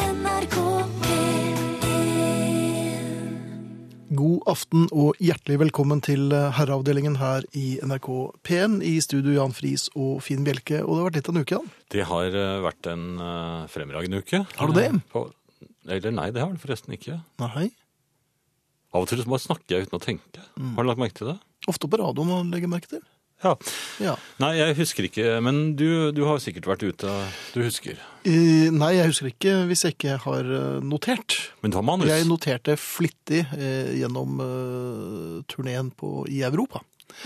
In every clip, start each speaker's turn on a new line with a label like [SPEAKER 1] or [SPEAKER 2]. [SPEAKER 1] NRK P1
[SPEAKER 2] God aften og hjertelig velkommen til eh, herreavdelingen her i NRK P1. I studio Jan Friis og Finn Bjelke. Og det har vært litt av en uke, Jan.
[SPEAKER 3] Det har eh, vært en eh, fremragende uke.
[SPEAKER 2] Har du det?
[SPEAKER 3] Eh, På, eller nei, det har det forresten ikke.
[SPEAKER 2] Nei.
[SPEAKER 3] Av og til så bare snakker jeg uten å tenke.
[SPEAKER 2] Mm.
[SPEAKER 3] Har du lagt merke til det?
[SPEAKER 2] Ofte på radioen å legge merke til.
[SPEAKER 3] Ja.
[SPEAKER 2] Ja.
[SPEAKER 3] Nei, jeg husker ikke, men du, du har sikkert vært ute. Du husker.
[SPEAKER 2] Eh, nei, jeg husker ikke hvis jeg ikke har eh, notert.
[SPEAKER 3] Men du har manus.
[SPEAKER 2] Jeg noterte flittig eh, gjennom uh, turneen i Europa.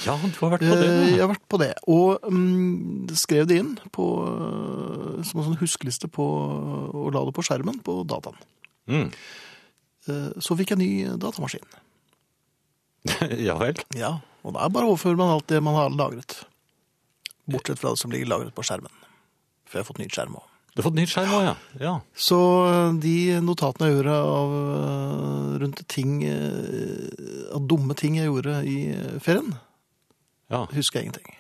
[SPEAKER 3] Ja, du har vært på det.
[SPEAKER 2] Eh, jeg har vært på det, og mm, skrev det inn på, eh, som en sånn huskeliste på, og la det på skjermen på dataen.
[SPEAKER 3] Mm.
[SPEAKER 2] Eh, så fikk jeg ny datamaskin.
[SPEAKER 3] ja vel.
[SPEAKER 2] Ja, og da bare overfører man alt det man har lagret. Bortsett fra det som ligger lagret på skjermen. For jeg har fått nytt skjerm òg.
[SPEAKER 3] Du har fått nytt skjerm òg, ja. ja.
[SPEAKER 2] Så eh, de notatene jeg gjorde av eh, rundt ting eh, Av dumme ting jeg gjorde i eh, ferien,
[SPEAKER 3] Ja.
[SPEAKER 2] husker jeg ingenting.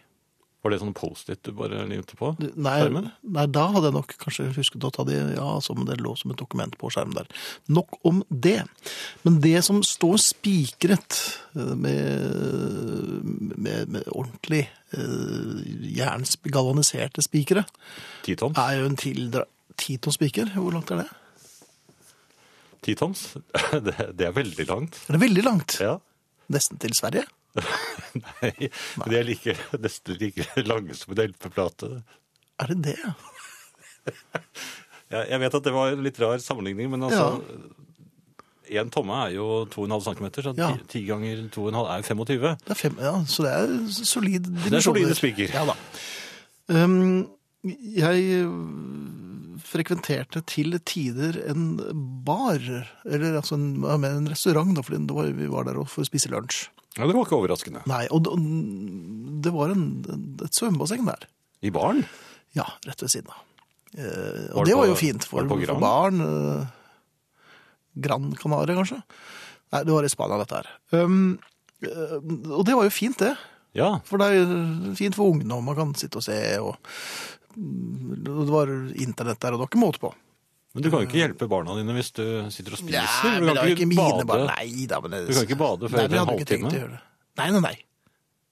[SPEAKER 3] Var det sånn Post-It du bare limte på?
[SPEAKER 2] Du, Nei,
[SPEAKER 3] Skjermen?
[SPEAKER 2] nei, da hadde jeg nok kanskje husket å ta det ja, som det lå som et dokument på skjermen der. Nok om det. Men det som står spikret eh, med, med, med ordentlig eh, jernsgalvaniserte spikere,
[SPEAKER 3] Titoms?
[SPEAKER 2] er jo en tildra... Titonspiker? Hvor langt er det?
[SPEAKER 3] Titoms? det, det er veldig langt.
[SPEAKER 2] Er det veldig langt?
[SPEAKER 3] Ja.
[SPEAKER 2] Nesten til Sverige?
[SPEAKER 3] Nei, men det er like, nesten like lange som en LP-plate.
[SPEAKER 2] Er det det?
[SPEAKER 3] Ja, Jeg vet at det var en litt rar sammenligning, men altså En tomme er jo 2,5 cm, så ti-
[SPEAKER 2] Ja.
[SPEAKER 3] 10 ganger 2,5 er jo 25.
[SPEAKER 2] Det er fem, ja, så det er solid dimensjoner.
[SPEAKER 3] Det er solide spiker.
[SPEAKER 2] Ja da. Um, jeg øh, frekventerte til tider en bar, eller altså en, ja, men en restaurant, da, for det var, vi var der og for å spise lunsj.
[SPEAKER 3] Ja, det var ikke overraskende.
[SPEAKER 2] Nei, og d- det var en, et svømmebasseng der.
[SPEAKER 3] I baren?
[SPEAKER 2] Ja, rett ved siden av. Eh,
[SPEAKER 3] Var
[SPEAKER 2] og
[SPEAKER 3] det
[SPEAKER 2] det var
[SPEAKER 3] på-
[SPEAKER 2] jo fint for,
[SPEAKER 3] var det
[SPEAKER 2] for
[SPEAKER 3] på Gran?
[SPEAKER 2] barn. eh, Gran Canaria, kanskje? Nei, det var i Spania, dette her. Um, eh, og det var jo fint, det.
[SPEAKER 3] Ja.
[SPEAKER 2] For det er jo fint for ungene, og man kan sitte og se, og og det var internett der, og det var ikke måte på.
[SPEAKER 3] Men du kan jo ikke hjelpe barna dine hvis du sitter og spiser.
[SPEAKER 2] Nei,
[SPEAKER 3] du
[SPEAKER 2] men
[SPEAKER 3] kan
[SPEAKER 2] det var ikke mine
[SPEAKER 3] bade.
[SPEAKER 2] barn. Nei, da, men det,
[SPEAKER 3] Du kan ikke bade før
[SPEAKER 2] Nei,
[SPEAKER 3] etter
[SPEAKER 2] vi
[SPEAKER 3] en
[SPEAKER 2] hadde ikke tenkt
[SPEAKER 3] halvtime.
[SPEAKER 2] å gjøre det. Nei, nei, nei.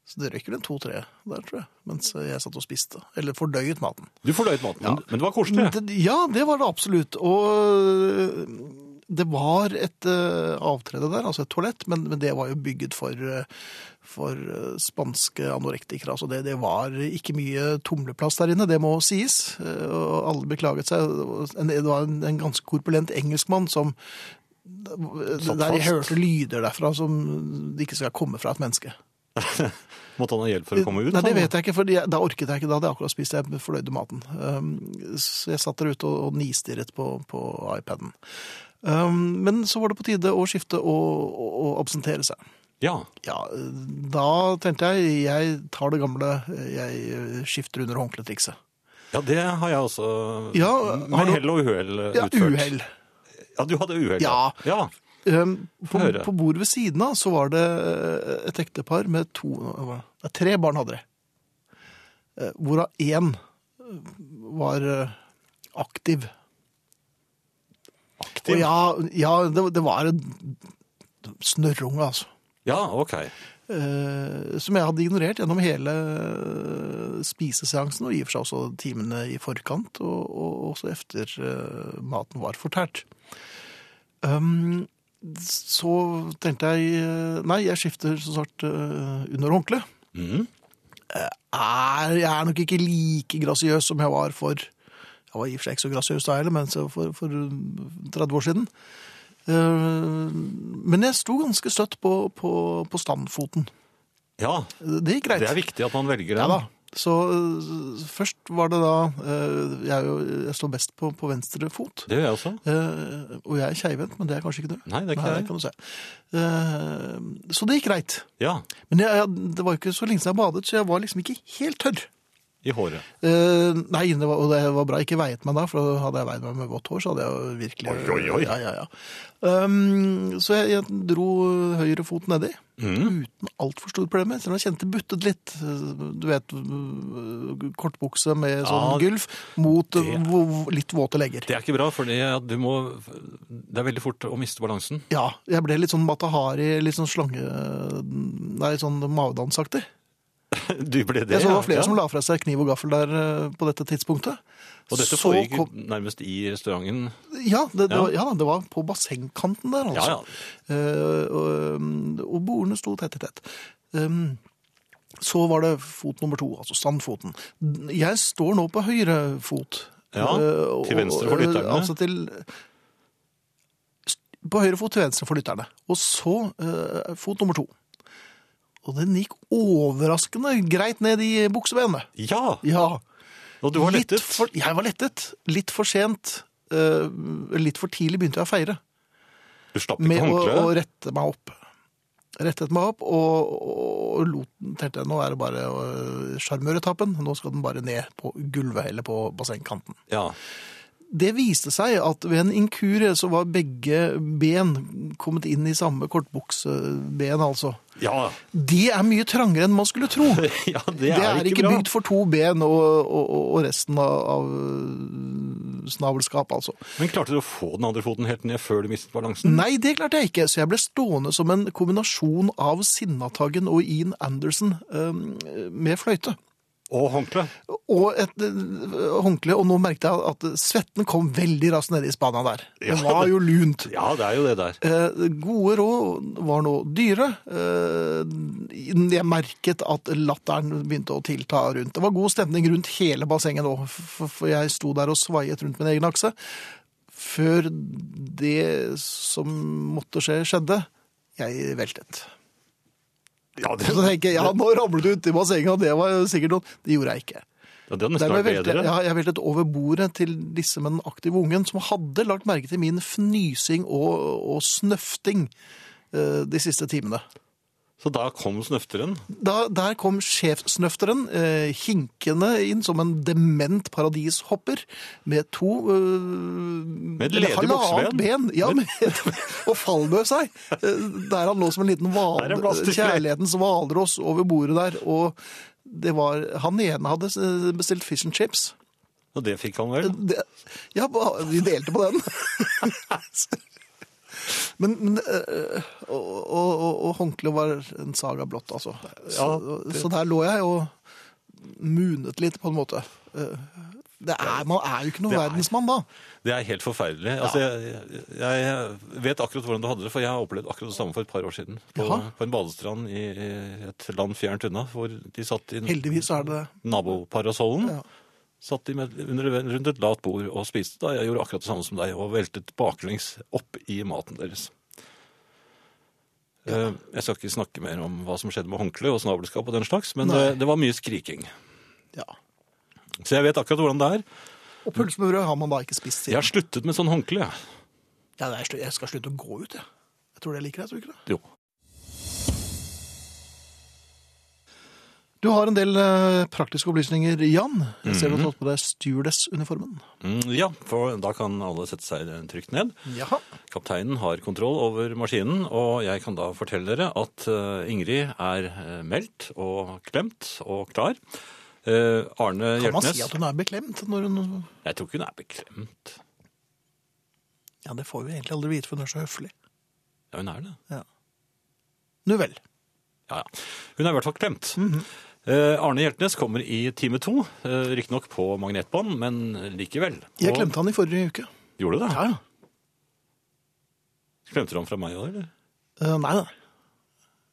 [SPEAKER 2] Så det røyker en to-tre der, tror jeg, mens jeg satt og spiste. Eller fordøyet maten.
[SPEAKER 3] Du fordøyet maten, men- men det var koselig.
[SPEAKER 2] Det, ja, det var det absolutt. Og det var et eh, avtrede der, altså et toalett, men, men det var jo bygget for, eh, for eh, spanske anorektikere. Altså det, det var ikke mye tumleplass der inne, det må sies. Eh, Og alle beklaget seg. En- Det var en, en ganske korpulent engelskmann som øh,
[SPEAKER 3] Satt
[SPEAKER 2] der jeg
[SPEAKER 3] fast.
[SPEAKER 2] hørte lyder derfra som det ikke skal komme fra et menneske.
[SPEAKER 3] Måtte han ha hjelp for å komme ut?
[SPEAKER 2] Nei, det
[SPEAKER 3] han, da?
[SPEAKER 2] vet jeg ikke, for da orket jeg ikke. Da hadde jeg akkurat spist, jeg fordøyde maten. Um, så jeg satt der ute og, og nistirret på, på iPaden. Um, men så var det på tide å skifte og, og, og absentere seg.
[SPEAKER 3] Ja.
[SPEAKER 2] Ja, da tenkte jeg, jeg tar det gamle, jeg eh, skifter under håndkletrikset.
[SPEAKER 3] ja, det har jeg også
[SPEAKER 2] Ja, har
[SPEAKER 3] med
[SPEAKER 2] du-
[SPEAKER 3] hell og uhell eh,
[SPEAKER 2] Ja,
[SPEAKER 3] utført.
[SPEAKER 2] uhell.
[SPEAKER 3] Ja, du hadde uhell.
[SPEAKER 2] Ja.
[SPEAKER 3] ja.
[SPEAKER 2] Um, på,
[SPEAKER 3] høre.
[SPEAKER 2] på bordet ved siden av så var det eh, et ektepar med to, nei, tre barn hadde det. Eh, Hvorav én eh, var eh, aktiv.
[SPEAKER 3] Aktiv.
[SPEAKER 2] Og
[SPEAKER 3] ja.
[SPEAKER 2] ja, ja det, det var en snørrunge, altså.
[SPEAKER 3] ok.
[SPEAKER 2] Eh, som jeg hadde ignorert gjennom hele eh, spiseseansen, og i og for seg også timene i forkant, og, og også efter eh, maten var fortært. Um, så tenkte jeg eh, Nei, jeg skifter som sagt eh, under håndkle. Eh,
[SPEAKER 3] Mhm.
[SPEAKER 2] Er, jeg er nok ikke like grasiøs som jeg var for Jeg var i og for seg ikke så grasiøs da heller, men så for, for 30 år siden. Eh, men jeg sto ganske støtt på, på, på standfoten.
[SPEAKER 3] Ja,
[SPEAKER 2] Det gikk greit.
[SPEAKER 3] det er viktig at man velger
[SPEAKER 2] Ja
[SPEAKER 3] den.
[SPEAKER 2] da. Så øh, først var det da øh, Jeg, er jo, jeg står best på, på venstre fot.
[SPEAKER 3] Det gjør jeg også.
[SPEAKER 2] Eh, og jeg er keivhendt, men det er kanskje ikke du.
[SPEAKER 3] Nei, det er ikke jeg.
[SPEAKER 2] kan du se. Eh, så det gikk greit.
[SPEAKER 3] Ja.
[SPEAKER 2] Men jeg, jeg, det var jo ikke så lenge siden jeg badet, så jeg var liksom ikke helt tørr.
[SPEAKER 3] I håret.
[SPEAKER 2] Eh, nei, det var, og det var bra jeg ikke veiet meg da, for hadde jeg veid meg med vått hår, så hadde jeg jo virkelig
[SPEAKER 3] Oi, oi, oi.
[SPEAKER 2] Ja, ja, ja. Um, så jeg, jeg dro høyre fot nedi,
[SPEAKER 3] Mm.
[SPEAKER 2] uten altfor store problemer. Selv om jeg kjente det buttet litt. Du vet, øh, kortbukse med sånn
[SPEAKER 3] Ja,
[SPEAKER 2] gulv mot
[SPEAKER 3] det-
[SPEAKER 2] hvor- litt våte legger.
[SPEAKER 3] Det er ikke bra, for det er veldig fort å miste balansen.
[SPEAKER 2] Ja, jeg ble litt sånn matahari, litt sånn slange... Nei, sånn mavedansaktig.
[SPEAKER 3] Du ble det,
[SPEAKER 2] Jeg så det var flere
[SPEAKER 3] ja.
[SPEAKER 2] som la fra seg kniv og gaffel der eh, på dette tidspunktet.
[SPEAKER 3] Og dette
[SPEAKER 2] Så
[SPEAKER 3] foregikk
[SPEAKER 2] kom-
[SPEAKER 3] nærmest i restauranten.
[SPEAKER 2] Ja, det, det,
[SPEAKER 3] Ja.
[SPEAKER 2] Var, ja, da, det var på bassengkanten der,
[SPEAKER 3] Ja,
[SPEAKER 2] altså.
[SPEAKER 3] ja.
[SPEAKER 2] Eh, og, og bordene sto tett i tett. Um, så var det fot nummer to, altså standfoten. Jeg står nå på høyre fot.
[SPEAKER 3] Ja,
[SPEAKER 2] Eh, og-
[SPEAKER 3] til venstre for lytterne.
[SPEAKER 2] eh, Altså til På høyre fot til venstre for lytterne. Og så eh, fot nummer to. Og den gikk overraskende greit ned i buksebenet.
[SPEAKER 3] Ja,
[SPEAKER 2] Ja.
[SPEAKER 3] og du var
[SPEAKER 2] Litt
[SPEAKER 3] lettet.
[SPEAKER 2] For, jeg var lettet. Litt for sent. eh, litt for tidlig begynte jeg å feire
[SPEAKER 3] Du slapp ikke
[SPEAKER 2] med å, å
[SPEAKER 3] håndkleet.
[SPEAKER 2] rette meg opp. Rettet meg opp og, og lot, tenkte jeg, nå er det bare å sjarmøre tappen. Nå skal den bare ned på gulvet eller på bassengkanten.
[SPEAKER 3] Ja.
[SPEAKER 2] Det viste seg at ved en inkurie så var begge ben kommet inn i samme kortbukseben, altså.
[SPEAKER 3] Ja.
[SPEAKER 2] Det er mye trangere enn man skulle tro.
[SPEAKER 3] ja, det
[SPEAKER 2] Det
[SPEAKER 3] er,
[SPEAKER 2] er ikke,
[SPEAKER 3] bra.
[SPEAKER 2] bygd for to ben og, og, og resten av, av snabelskap, altså.
[SPEAKER 3] Men klarte du å få den andre foten helt ned før du mistet balansen?
[SPEAKER 2] Nei, det klarte jeg ikke, så jeg ble stående som en kombinasjon av Sinnataggen og Ian Anderson øhm, med fløyte.
[SPEAKER 3] Og håndkle.
[SPEAKER 2] Og et øh, håndkle, og nå merket jeg at svetten kom veldig raskt nede i spana der. Det
[SPEAKER 3] Ja,
[SPEAKER 2] var
[SPEAKER 3] det-
[SPEAKER 2] jo lunt.
[SPEAKER 3] Ja, det er jo det der.
[SPEAKER 2] Eh, gode råd var nå dyre. Eh, jeg merket at latteren begynte å tilta rundt. Det var god stemning rundt hele bassenget nå, for for jeg sto der og svaiet rundt min egen akse. Før det som måtte skje, skjedde. Jeg veltet.
[SPEAKER 3] Ja, det,
[SPEAKER 2] Så tenker jeg, ja, nå ramlet du uti bassenget, og det var jo sikkert noe. Det gjorde jeg ikke.
[SPEAKER 3] ja, det har nesten
[SPEAKER 2] Dermed
[SPEAKER 3] vært
[SPEAKER 2] veltet,
[SPEAKER 3] bedre.
[SPEAKER 2] ja, jeg veltet over bordet til disse med den aktive ungen, som hadde lagt merke til min fnysing og, og snøfting eh, de siste timene.
[SPEAKER 3] Så da kom snøfteren.
[SPEAKER 2] Da, der kom sjefsnøfteren eh, hinkende inn som en dement paradishopper med to eh,
[SPEAKER 3] Med ledig
[SPEAKER 2] eller halvannet
[SPEAKER 3] bukseben.
[SPEAKER 2] ben. Ja, med, og fallbøv seg. eh, Der han lå som en liten val,
[SPEAKER 3] Der er plass til flere.
[SPEAKER 2] kjærlighetens hvalross over bordet der. Og det var Han ene hadde eh, bestilt fish and chips.
[SPEAKER 3] Og det fikk han vel.
[SPEAKER 2] Det, ja, ba- vi delte på den. men men øh, og, og, og- og håndkleet var en saga blått, altså. Så, så der lå jeg og munet litt, på en måte. Eh, Det er, man er jo ikke noen
[SPEAKER 3] Det er-
[SPEAKER 2] verdensmann da.
[SPEAKER 3] Det er helt forferdelig. Altså, jeg, jeg, jeg vet akkurat hvordan du hadde det, for jeg har opplevd akkurat det samme for et par år siden. På,
[SPEAKER 2] Jaha.
[SPEAKER 3] på en badestrand i i et land fjernt unna, hvor de satt i
[SPEAKER 2] Heldigvis så er det
[SPEAKER 3] naboparasollen.
[SPEAKER 2] Ja.
[SPEAKER 3] Satt de med, under, rundt et lavt bord og spiste. da. Jeg gjorde akkurat det samme som deg og veltet baklengs opp i maten deres. Eh, Jeg skal ikke snakke mer om hva som skjedde med håndkle og snabelskap og den slags, men
[SPEAKER 2] Nei.
[SPEAKER 3] eh, det var mye skriking.
[SPEAKER 2] ja.
[SPEAKER 3] Så jeg vet akkurat hvordan det er.
[SPEAKER 2] Og pølse med brød har man da ikke spist
[SPEAKER 3] Jeg
[SPEAKER 2] siden.
[SPEAKER 3] har sluttet med sånn håndkle. jeg.
[SPEAKER 2] Ja, nei, jeg skal slutte å gå ut, jeg. Jeg tror det liker jeg, tror du ikke det?
[SPEAKER 3] Jo.
[SPEAKER 2] Du har en del eh, praktiske opplysninger, Jan. Jeg
[SPEAKER 3] Mhm.
[SPEAKER 2] ser du har tatt på deg stewardess-uniformen.
[SPEAKER 3] Mm, Ja, for da kan alle sette seg trygt ned.
[SPEAKER 2] Jaha.
[SPEAKER 3] Kapteinen har kontroll over maskinen, og jeg kan da fortelle dere at eh, Ingrid er eh, meldt og klemt og klar. Eh, Arne
[SPEAKER 2] Kan man
[SPEAKER 3] Hjeltnes
[SPEAKER 2] si at hun er beklemt når hun
[SPEAKER 3] Jeg tror ikke hun er beklemt.
[SPEAKER 2] Ja, det får vi egentlig aldri vite, for hun er så høflig.
[SPEAKER 3] Ja, hun er det.
[SPEAKER 2] Ja. Nu vel.
[SPEAKER 3] Ja, ja. Hun er i hvert fall klemt.
[SPEAKER 2] Mhm.
[SPEAKER 3] Eh, Arne Hjeltnes kommer i time to, eh, riktignok på magnetbånd, men likevel.
[SPEAKER 2] Jeg
[SPEAKER 3] Og-
[SPEAKER 2] klemte han i forrige uke.
[SPEAKER 3] Gjorde du det?
[SPEAKER 2] Ja, ja.
[SPEAKER 3] Klemte du ham fra meg òg, eller?
[SPEAKER 2] Eh, nei, nei.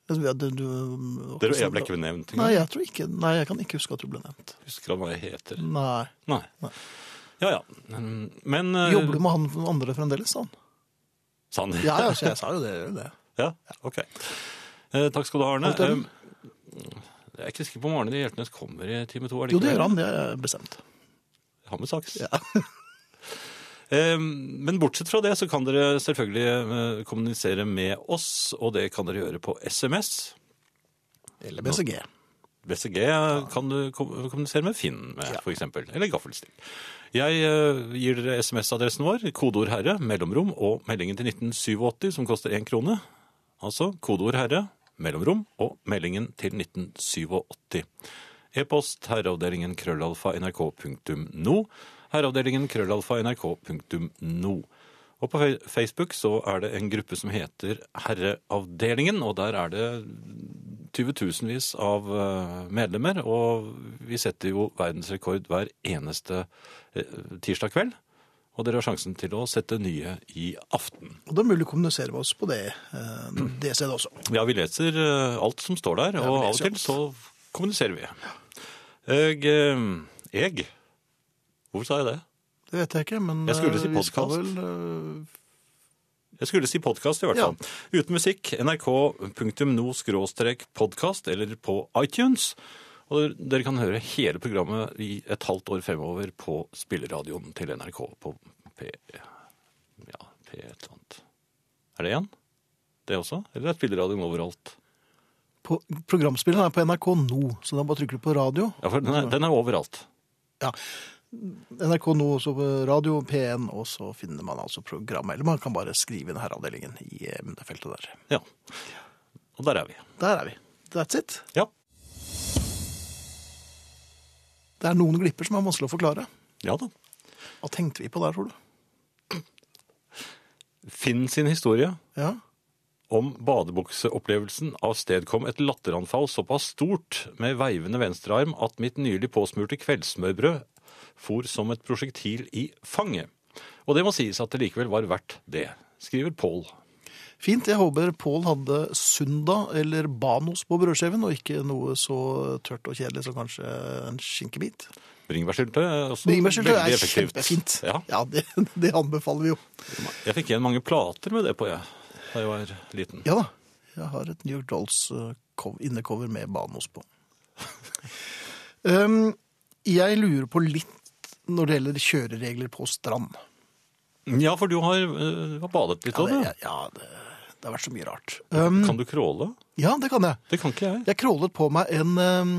[SPEAKER 2] Jeg, jeg, du, du,
[SPEAKER 3] Dere, jeg ble ikke nevnt
[SPEAKER 2] Nei,
[SPEAKER 3] engang.
[SPEAKER 2] jeg tror ikke. Nei, jeg kan ikke huske at du ble nevnt.
[SPEAKER 3] Husker han hva jeg heter?
[SPEAKER 2] Nei.
[SPEAKER 3] Nei.
[SPEAKER 2] Nei.
[SPEAKER 3] Ja, ja. Men, men eh,
[SPEAKER 2] Jobber du med han andre fremdeles, sa han?
[SPEAKER 3] Sa han det?
[SPEAKER 2] Ja, ja, så jeg sa jo det. det.
[SPEAKER 3] Ja, ok. Eh, takk skal du ha, Arne.
[SPEAKER 2] Alt i orden.
[SPEAKER 3] Eh, jeg er ikke sikker på om Arne Hjeltnes kommer i time to.
[SPEAKER 2] Jo, det gjør han. Det er bestemt.
[SPEAKER 3] Han med saks. Eh, Men bortsett fra det så kan dere selvfølgelig eh, kommunisere med oss, og det kan dere gjøre på SMS.
[SPEAKER 2] Eller BCG.
[SPEAKER 3] BCG kan du kom- kommunisere med Finn med, for eksempel. Eller gaffelstil. Jeg eh, gir dere SMS-adressen vår, kodeord herre, mellomrom og meldingen til 1987 som koster én krone. Altså kodeord herre, mellomrom og meldingen til 1987. E-post herreavdelingen krøllalfa nrk.no. Herreavdelingen krøllalfa nrk.no. Og på fe- Facebook så er det en gruppe som heter Herreavdelingen, og der er det tusenvis av eh, medlemmer, og vi setter jo verdensrekord hver eneste eh, tirsdag kveld. Og dere har sjansen til å sette nye i aften.
[SPEAKER 2] Og det er mulig å kommunisere med oss på det, eh, det stedet også.
[SPEAKER 3] Ja, vi leser eh, alt som står der,
[SPEAKER 2] vi
[SPEAKER 3] og av og
[SPEAKER 2] leser
[SPEAKER 3] til
[SPEAKER 2] alt.
[SPEAKER 3] så kommuniserer vi. Jeg, eh, jeg Hvorfor sa jeg det?
[SPEAKER 2] Det vet jeg ikke, men
[SPEAKER 3] Jeg skulle
[SPEAKER 2] eh,
[SPEAKER 3] si
[SPEAKER 2] vi skal vel,
[SPEAKER 3] podcast.
[SPEAKER 2] eh,
[SPEAKER 3] Jeg skulle si podkast, i hvert fall. Uten musikk. nrk.no-podkast eller på iTunes. Og dere kan høre hele programmet i et halvt år fremover på spilleradioen til NRK på P... Ja, P et eller annet. Er det én? Det også? Eller er spilleradioen overalt?
[SPEAKER 2] på, programspilleren er på NRK nå, så da bare trykker du på radio.
[SPEAKER 3] Ja, for den er, den er overalt.
[SPEAKER 2] Ja. NRK nå, så på radio, P1, og så finner man altså programmet. Eller man kan bare skrive inn herreavdelingen i eh, det feltet der.
[SPEAKER 3] Ja. Og der er vi.
[SPEAKER 2] Der er vi. That's it.
[SPEAKER 3] Ja.
[SPEAKER 2] Det er noen glipper som er vanskelig å forklare.
[SPEAKER 3] Ja da.
[SPEAKER 2] Hva tenkte vi på der, tror du?
[SPEAKER 3] Finn sin historie
[SPEAKER 2] Ja.
[SPEAKER 3] om badebukseopplevelsen avstedkom et latteranfall såpass stort med veivende venstrearm at mitt nylig påsmurte kveldssmørbrød for som et prosjektil i fanget. Og det må sies at det likevel var verdt det, skriver Pål.
[SPEAKER 2] Fint. Jeg håper Pål hadde Sunda eller Banos på brødskiven, og ikke noe så tørt og kjedelig som kanskje en skinkebit.
[SPEAKER 3] Bringebærsylte er også
[SPEAKER 2] Bringebærsylte
[SPEAKER 3] veldig
[SPEAKER 2] er
[SPEAKER 3] effektivt.
[SPEAKER 2] kjempefint.
[SPEAKER 3] Ja,
[SPEAKER 2] Ja, det, det anbefaler vi jo.
[SPEAKER 3] jeg fikk igjen mange plater med det på, jeg, da jeg var liten.
[SPEAKER 2] Ja da. Jeg har et New York Dolls eh, cov- innecover med Banos på. um, jeg lurer på litt når det gjelder kjøreregler på strand.
[SPEAKER 3] Ja, for du har, øh, har badet litt
[SPEAKER 2] Ja,
[SPEAKER 3] òg,
[SPEAKER 2] det,
[SPEAKER 3] du.
[SPEAKER 2] ja, det, det har vært så mye rart. Um,
[SPEAKER 3] Kan du crawle?
[SPEAKER 2] ja, det kan jeg.
[SPEAKER 3] Det kan ikke jeg.
[SPEAKER 2] Jeg krålet på meg en eh,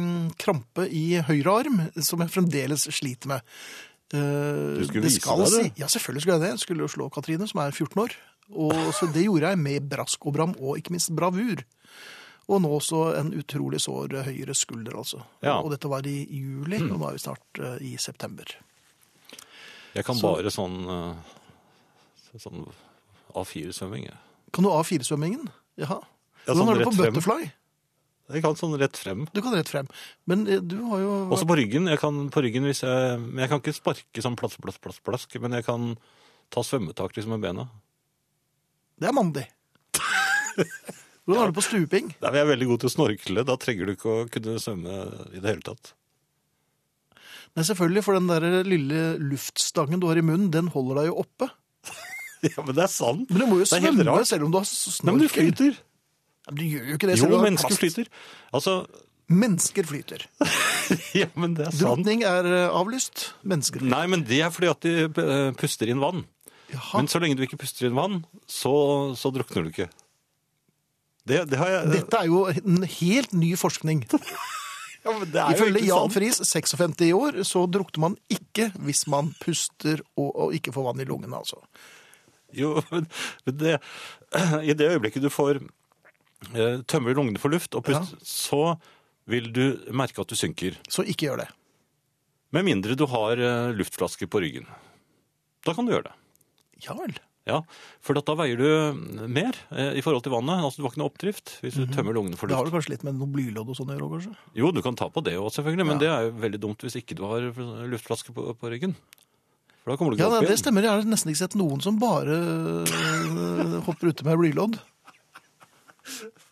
[SPEAKER 2] krampe i høyre arm, som jeg fremdeles sliter med. Eh,
[SPEAKER 3] Du skulle
[SPEAKER 2] det
[SPEAKER 3] vise
[SPEAKER 2] skal
[SPEAKER 3] deg det.
[SPEAKER 2] si- Ja, selvfølgelig skulle jeg det. Jeg skulle jo slå Katrine, som er 14 år. Og, så det gjorde jeg med brask og bram, og ikke minst bravur. Og nå så en utrolig sår høyre skulder, altså.
[SPEAKER 3] Ja.
[SPEAKER 2] Og dette var i juli, og nå er vi snart eh, i september.
[SPEAKER 3] Jeg kan
[SPEAKER 2] Så-
[SPEAKER 3] bare sånn, øh, sånn A4-svømming. jeg.
[SPEAKER 2] Kan du A4-svømmingen? Jaha.
[SPEAKER 3] Ja,
[SPEAKER 2] Hvordan
[SPEAKER 3] sånn
[SPEAKER 2] har du på
[SPEAKER 3] rett frem.
[SPEAKER 2] butterfly?
[SPEAKER 3] Jeg kan sånn rett frem.
[SPEAKER 2] Du kan rett frem. Men eh, du har jo
[SPEAKER 3] Også på ryggen. Jeg kan på ryggen hvis jeg Men jeg kan ikke sparke sånn plask, plask, plask, plask. Men jeg kan ta svømmetak liksom med bena.
[SPEAKER 2] Det er mandig. Hvordan har du på stuping?
[SPEAKER 3] Der er jeg veldig god til å snorkle. Da trenger du ikke å kunne svømme i det hele tatt.
[SPEAKER 2] Nei, selvfølgelig, for den der lille luftstangen du har i munnen, den holder deg jo oppe.
[SPEAKER 3] Ja, men det er sant!
[SPEAKER 2] Men du må jo
[SPEAKER 3] Det er helt
[SPEAKER 2] svømme
[SPEAKER 3] rart.
[SPEAKER 2] selv om du har
[SPEAKER 3] Nei, men du
[SPEAKER 2] snorkel.
[SPEAKER 3] flyter!
[SPEAKER 2] Ja, men du gjør jo ikke det.
[SPEAKER 3] Jo,
[SPEAKER 2] selv om du har
[SPEAKER 3] mennesker
[SPEAKER 2] plast.
[SPEAKER 3] flyter. Altså
[SPEAKER 2] Mennesker flyter.
[SPEAKER 3] Ja, men det er sant.
[SPEAKER 2] Drukning er eh, avlyst. Mennesker flyter.
[SPEAKER 3] Nei, men det er fordi at de eh, puster inn vann.
[SPEAKER 2] Jaha,
[SPEAKER 3] Men så lenge du ikke puster inn vann, så, så drukner du ikke. Det, det har jeg
[SPEAKER 2] dette er jo en helt ny forskning.
[SPEAKER 3] ja, men det er jo
[SPEAKER 2] Ifølge
[SPEAKER 3] ikke
[SPEAKER 2] Jan
[SPEAKER 3] sant.
[SPEAKER 2] Friis, 56 år, så drukner man ikke hvis man puster og, og ikke får vann i lungene, altså.
[SPEAKER 3] Jo, men men det, i det øyeblikket du får eh, tømmer lungene for luft og pust, så vil du merke at du synker.
[SPEAKER 2] Så ikke gjør det.
[SPEAKER 3] Med mindre du har eh, luftflaske på ryggen. Da kan du gjøre det.
[SPEAKER 2] Ja vel.
[SPEAKER 3] Ja, for at da veier du mer eh, i forhold til vannet. Altså du har ikke noe oppdrift hvis du tømmer lungene for
[SPEAKER 2] Mhm. Det har
[SPEAKER 3] luft.
[SPEAKER 2] vel kanskje litt med noe blylodd og sånn å gjøre, kanskje?
[SPEAKER 3] Jo, du kan ta på det òg, selvfølgelig, men
[SPEAKER 2] Ja.
[SPEAKER 3] det er jo veldig dumt hvis ikke du har luftflaske på, på ryggen. For da kommer du ikke
[SPEAKER 2] Ja,
[SPEAKER 3] opp
[SPEAKER 2] det, det
[SPEAKER 3] igjen.
[SPEAKER 2] stemmer. Jeg har nesten ikke sett noen som bare eh, hopper ute med blylodd.